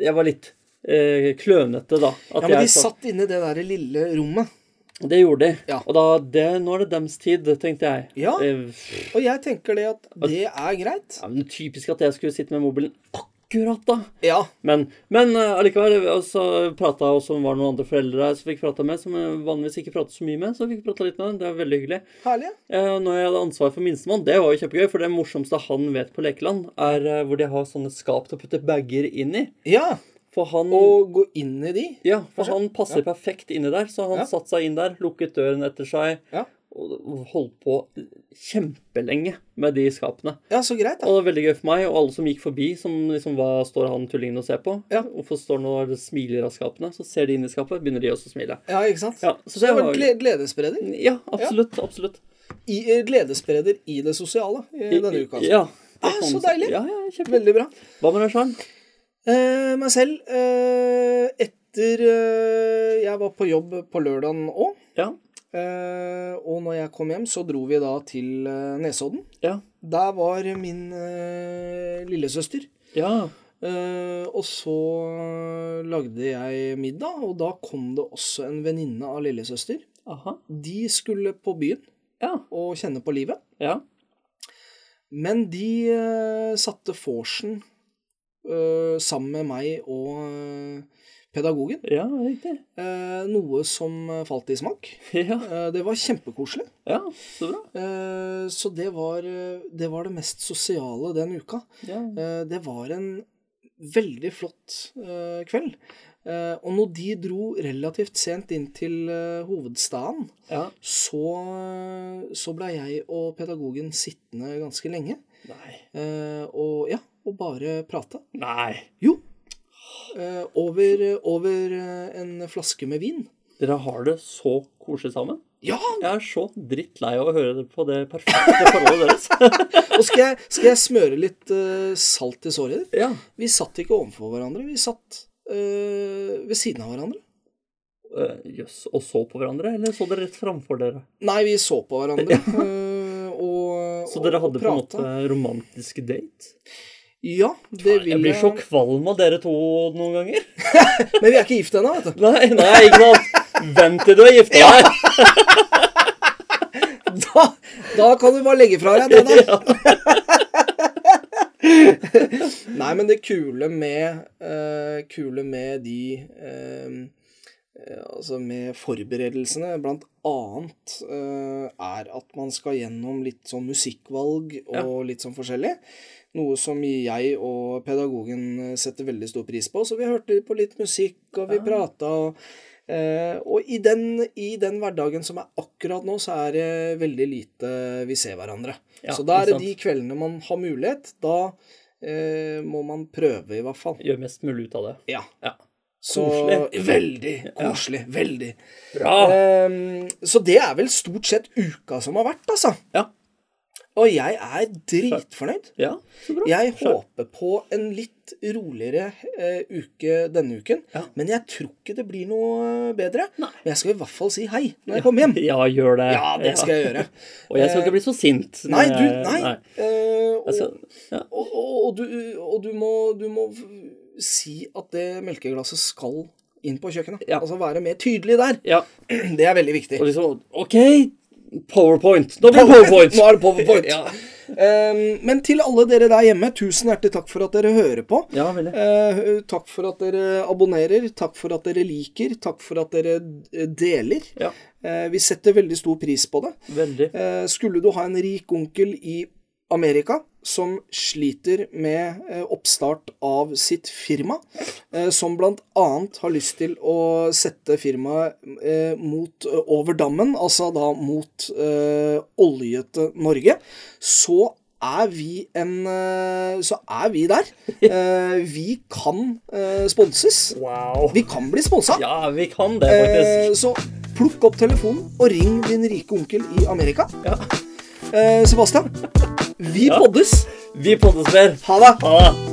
Speaker 2: Jeg var litt eh, klønete, da. At
Speaker 1: ja men de
Speaker 2: jeg sa-
Speaker 1: satt inne i det der lille rommet.
Speaker 2: Det gjorde de.
Speaker 1: Ja.
Speaker 2: Og da det, Nå er det dems tid, tenkte jeg.
Speaker 1: Ja.
Speaker 2: Eh,
Speaker 1: Og jeg tenker det at det er greit.
Speaker 2: ja, men typisk at jeg skulle sitte med mobilen akkurat da.
Speaker 1: Ja.
Speaker 2: Men, men eh, allikevel, og så prata jeg også om var det noen andre foreldre her som fikk prata med, som jeg vanligvis ikke prater så mye med. Så jeg fikk prata litt med dem. Det var veldig hyggelig.
Speaker 1: Herlig.
Speaker 2: Eh, Når jeg hadde ansvar for minstemann, det var jo kjempegøy, for det morsomste han vet på lekeland, er eh, hvor de har sånne skap til å putte bager inn i.
Speaker 1: Ja.
Speaker 2: For han
Speaker 1: Og gå inn i de.
Speaker 2: ja, for han passer perfekt inni der, så han
Speaker 1: Ja.
Speaker 2: satte seg inn der, lukket døren etter seg
Speaker 1: Ja.
Speaker 2: og holdt på kjempelenge med de skapene.
Speaker 1: Ja, så greit, da.
Speaker 2: Og det var veldig gøy for meg og alle som gikk forbi, som liksom hva står han tullingen og ser på?
Speaker 1: Ja.
Speaker 2: Hvorfor står han og smiler av skapene? Så ser de inn i skapet, begynner de også å smile.
Speaker 1: Ja, ikke sant?
Speaker 2: Ja, så
Speaker 1: Det
Speaker 2: det
Speaker 1: var
Speaker 2: var
Speaker 1: en gle- gledesspreder.
Speaker 2: Ja, absolutt. Absolutt.
Speaker 1: I, eh, gledesspreder i det sosiale i denne uka. altså.
Speaker 2: Ja. det
Speaker 1: Ah,
Speaker 2: kan
Speaker 1: så
Speaker 2: man si.
Speaker 1: deilig.
Speaker 2: Ja, ja, kjempe.
Speaker 1: Veldig bra.
Speaker 2: Hva med deg, Sjarm?
Speaker 1: Eh, meg selv eh, Etter eh, Jeg var på jobb på lørdagen òg.
Speaker 2: Ja.
Speaker 1: Eh, og når jeg kom hjem, så dro vi da til eh, Nesodden.
Speaker 2: Ja.
Speaker 1: Der var min eh, lillesøster.
Speaker 2: Ja.
Speaker 1: Eh, og så eh, lagde jeg middag, og da kom det også en venninne av lillesøster.
Speaker 2: Aha.
Speaker 1: De skulle på byen
Speaker 2: Ja.
Speaker 1: og kjenne på livet.
Speaker 2: Ja.
Speaker 1: Men de eh, satte vorsen eh, sammen med meg og eh, pedagogen,
Speaker 2: Ja, riktig.
Speaker 1: eh, noe som eh, falt i smak.
Speaker 2: Ja.
Speaker 1: Eh, det var kjempekoselig.
Speaker 2: ja, så bra.
Speaker 1: Eh, så det var, eh, det var det mest sosiale den uka.
Speaker 2: Ja.
Speaker 1: Eh, det var en veldig flott eh, kveld. Eh, og når de dro relativt sent inn til eh, hovedstaden,
Speaker 2: ja.
Speaker 1: så, eh, så ble jeg og pedagogen sittende ganske lenge.
Speaker 2: Nei.
Speaker 1: Eh, og ja, og bare prate.
Speaker 2: Nei.
Speaker 1: Jo. Eh, over over eh, en flaske med vin.
Speaker 2: Dere har det så koselig sammen.
Speaker 1: Ja!
Speaker 2: Jeg er så drittlei av å høre det på det perfekte forholdet deres.
Speaker 1: Og skal jeg, skal jeg smøre litt eh, salt i såret ditt?
Speaker 2: Ja.
Speaker 1: Vi satt ikke overfor hverandre, vi satt eh, ved siden av hverandre.
Speaker 2: Eh, Jøss. og så på hverandre, eller så dere rett framfor dere?
Speaker 1: Nei, vi så på hverandre. eh, og,
Speaker 2: Så dere
Speaker 1: og
Speaker 2: hadde på en
Speaker 1: prata.
Speaker 2: måte romantiske date?
Speaker 1: Ja, det vil
Speaker 2: Jeg blir så kvalm av dere to noen ganger.
Speaker 1: Men vi er ikke gift ennå, vet du.
Speaker 2: Nei, nei, ikke sant. Vent til du er gifta deg.
Speaker 1: Da, da kan du bare legge fra deg den der.
Speaker 2: Ja.
Speaker 1: Nei, men det kule med, eh, kule med de eh, eh, Altså med forberedelsene, blant annet, eh, er at man skal gjennom litt sånn musikkvalg og
Speaker 2: Ja.
Speaker 1: litt sånn forskjellig. Noe som jeg og pedagogen eh, setter veldig stor pris på. Så vi hørte på litt musikk, og vi prata. Og, eh, og i den, i den hverdagen som er akkurat nå, så er det veldig lite vi ser hverandre.
Speaker 2: Ja,
Speaker 1: så da
Speaker 2: ikke
Speaker 1: er det
Speaker 2: sant.
Speaker 1: de kveldene man har mulighet. Da eh, må man prøve, i hvert fall.
Speaker 2: Gjør mest mulig ut av det.
Speaker 1: Ja.
Speaker 2: Ja.
Speaker 1: Så,
Speaker 2: Koselig.
Speaker 1: Veldig koselig. Veldig.
Speaker 2: Bra!
Speaker 1: Ehm, så det er vel stort sett uka som har vært, altså.
Speaker 2: Ja.
Speaker 1: Og jeg er dritfornøyd.
Speaker 2: Ja, så bra.
Speaker 1: Jeg
Speaker 2: Skjønt.
Speaker 1: håper på en litt roligere eh, uke denne uken.
Speaker 2: Ja.
Speaker 1: Men jeg tror ikke det blir noe eh, bedre.
Speaker 2: Nei.
Speaker 1: Men jeg skal i hvert fall si hei når jeg kommer hjem.
Speaker 2: Ja, gjør det.
Speaker 1: Ja, det skal jeg gjøre.
Speaker 2: Og jeg skal ikke bli så sint. når
Speaker 1: Nei, du,
Speaker 2: jeg-
Speaker 1: nei. Eh, og,
Speaker 2: Jeg skal- ja.
Speaker 1: og, og, og, du, og du, må, du må si at det melkeglasset skal inn på kjøkkenet.
Speaker 2: Ja.
Speaker 1: Altså være mer tydelig der.
Speaker 2: ja,
Speaker 1: Det er veldig viktig.
Speaker 2: og liksom OK, powerpoint. Nå blir det powerpoint!
Speaker 1: Nå er det powerpoint.
Speaker 2: Ja.
Speaker 1: Eh, men til alle dere der hjemme, tusen hjertelig takk for at dere hører på.
Speaker 2: Ja, veldig.
Speaker 1: Eh, takk for at dere abonnerer, takk for at dere liker, takk for at dere eh, deler.
Speaker 2: Ja,
Speaker 1: Eh, vi setter veldig stor pris på det.
Speaker 2: veldig.
Speaker 1: Eh, skulle du ha en rik onkel i Amerika som sliter med eh, oppstart av sitt firma, eh, som bl.a. har lyst til å sette firmaet eh, mot eh, over dammen, altså da mot eh, oljete Norge, så er vi en eh, Så er vi der. Eh, vi kan eh, sponses.
Speaker 2: Wow.
Speaker 1: Vi kan bli sponsa.
Speaker 2: Ja, vi kan det, faktisk.
Speaker 1: Eh, så plukk opp telefonen og ring din rike onkel i Amerika.
Speaker 2: Ja.
Speaker 1: Eh, Sebastian, vi poddes.
Speaker 2: Vi poddes mer.
Speaker 1: Ha det.
Speaker 2: Ha det.